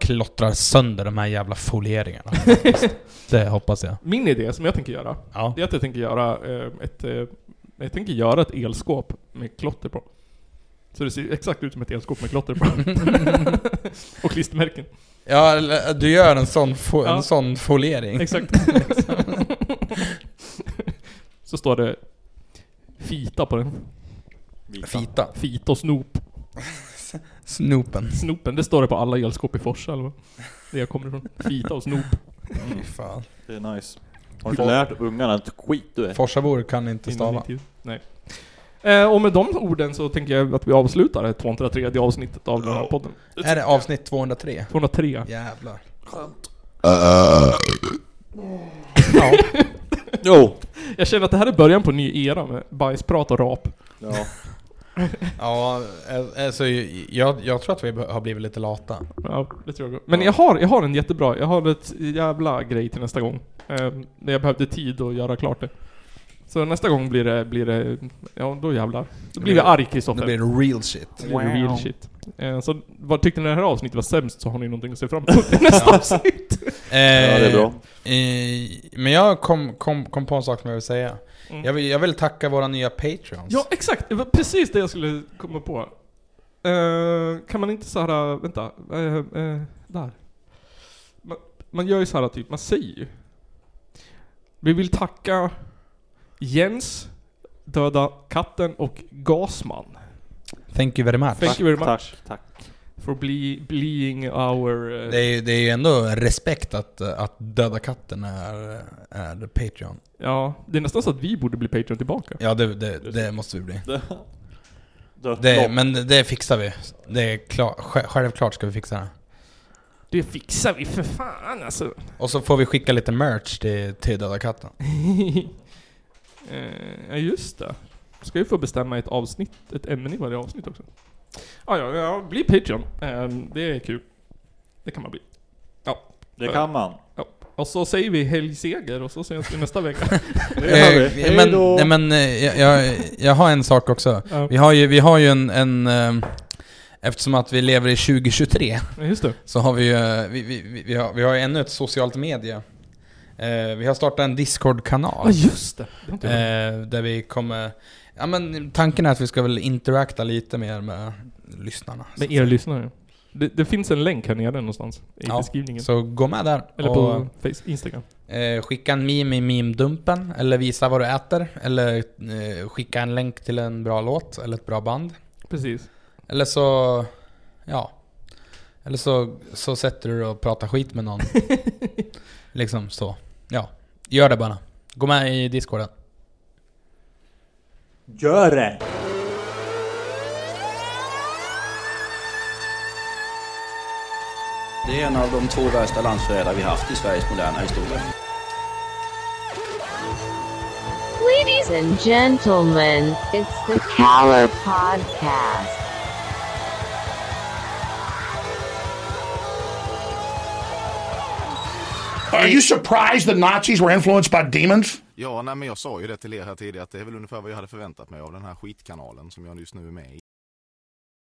Speaker 2: klottrar sönder de här jävla folieringarna. det hoppas jag.
Speaker 1: Min idé som jag tänker göra, det är att jag tänker göra eh, ett... Eh, jag tänker göra ett elskåp med klotter på. Så det ser exakt ut som ett elskåp med klotter på. och klistermärken.
Speaker 2: Ja, eller, du gör en sån, fo-
Speaker 1: Ja.
Speaker 2: en sån foliering.
Speaker 1: Exakt. Så står det Fita på den.
Speaker 2: Fita?
Speaker 1: Fita och snop.
Speaker 2: Snopen.
Speaker 1: Snopen, det står det på alla elskåp i Forsa eller vad? Det jag kommer ifrån. Fita och snop.
Speaker 2: Fy fan.
Speaker 3: Det är nice. Har du inte lärt ungarna att skit du är?
Speaker 2: Forsabor kan inte
Speaker 1: Inom
Speaker 2: stava.
Speaker 1: mitt huvud. Nej. Eh, och med de orden så tänker jag att vi avslutar det 203 avsnittet av den här podden.
Speaker 2: Är det avsnitt 203?
Speaker 1: 203.
Speaker 2: Jävlar.
Speaker 1: Ja. jo. Jag känner att det här är början på en ny era med bajsprat och rap.
Speaker 3: Ja.
Speaker 2: ja, eh, alltså jag, jag tror att vi har blivit lite lata.
Speaker 1: Ja, det tror jag. Men jag har, jag har en jättebra, jag har ett jävla grej till nästa gång. Eh, när jag behövde tid att göra klart det. Så nästa gång blir det, blir det, ja då jävlar. Då blir vi arg Kristoffer.
Speaker 2: Då blir det real shit.
Speaker 1: Det blir real shit. Eh, så vad tyckte ni det här avsnittet var sämst så har ni någonting att se fram emot i nästa avsnitt.
Speaker 2: Eh, men jag kom, kom, kom på en sak som jag vill säga.
Speaker 1: Mm.
Speaker 2: Jag, vill, jag vill tacka våra nya Patreons.
Speaker 1: Ja, exakt! Det var precis det jag skulle komma på. Eh, kan man inte såhär, vänta, eh, eh, där. Man, man gör ju såhär typ, man säger ju. Vi vill tacka Jens, Döda katten och Gasman.
Speaker 2: Thank you very much.
Speaker 1: Thank you very much.
Speaker 3: Tack, tack.
Speaker 1: For ble, being our... eh,
Speaker 2: Det är, ju- det är ju ändå respekt att, att Döda katten är, är Patreon.
Speaker 1: Ja, det är nästan så att vi borde bli Patreon tillbaka.
Speaker 2: Ja, det, det, det måste vi bli.
Speaker 3: Dött
Speaker 2: Det,
Speaker 3: lopp.
Speaker 2: men det fixar vi. Det är klart, sj- självklart ska vi fixa det.
Speaker 1: Det fixar vi för fan alltså.
Speaker 2: Och så får vi skicka lite merch till, till Döda katten.
Speaker 1: Eh, Ja, just det. Ska ju få bestämma ett avsnitt, ett ämne i varje avsnitt också. Ah, ja, ja, bli Patreon. Eh, det är kul. Det kan man bli. Ja.
Speaker 3: Det kan man.
Speaker 2: Eh,
Speaker 1: Ja. Och så säger vi helgseger och så ses vi nästa vecka.
Speaker 2: Eh, men, nej, men eh, jag, jag, jag har en sak också.
Speaker 1: Ja.
Speaker 2: Vi har ju, vi har ju en, en... ehm, Eftersom att vi lever i 2023
Speaker 1: Ja, just det.
Speaker 2: så har vi ju eh, vi, vi, vi, vi har, vi har ju ännu ett socialt media. Eh, Vi har startat en Discord-kanal.
Speaker 1: Ja, just det. Det har inte jag
Speaker 2: Eh, Där vi kommer... Ja, men tanken är att vi ska väl interakta lite mer med lyssnarna. så
Speaker 1: Med
Speaker 2: att
Speaker 1: er
Speaker 2: säga.
Speaker 1: lyssnare. Det, det finns en länk här nere någonstans i
Speaker 2: Ja,
Speaker 1: beskrivningen.
Speaker 2: Så gå med där.
Speaker 1: Eller på
Speaker 2: och-
Speaker 1: face, Instagram.
Speaker 2: Eh, skicka en meme i meme-dumpen, eller visa vad du äter, eller eh, skicka en länk till en bra låt eller ett bra band.
Speaker 1: Precis.
Speaker 2: Eller så, ja. Eller så, så sätter du dig och pratar skit med någon. liksom så. Ja, gör det bara. Gå med i discorden.
Speaker 3: Gör det!
Speaker 4: Det är en av de två värsta landsförrädare vi haft i Sveriges moderna historia.
Speaker 5: Ladies and gentlemen, it's the Caller Podcast.
Speaker 14: Are you surprised that Nazis were influenced by demons?
Speaker 15: Ja, nej, men jag sa ju det till er här tidigare att det är väl ungefär vad jag hade förväntat mig av den här skitkanalen som jag just nu är med i.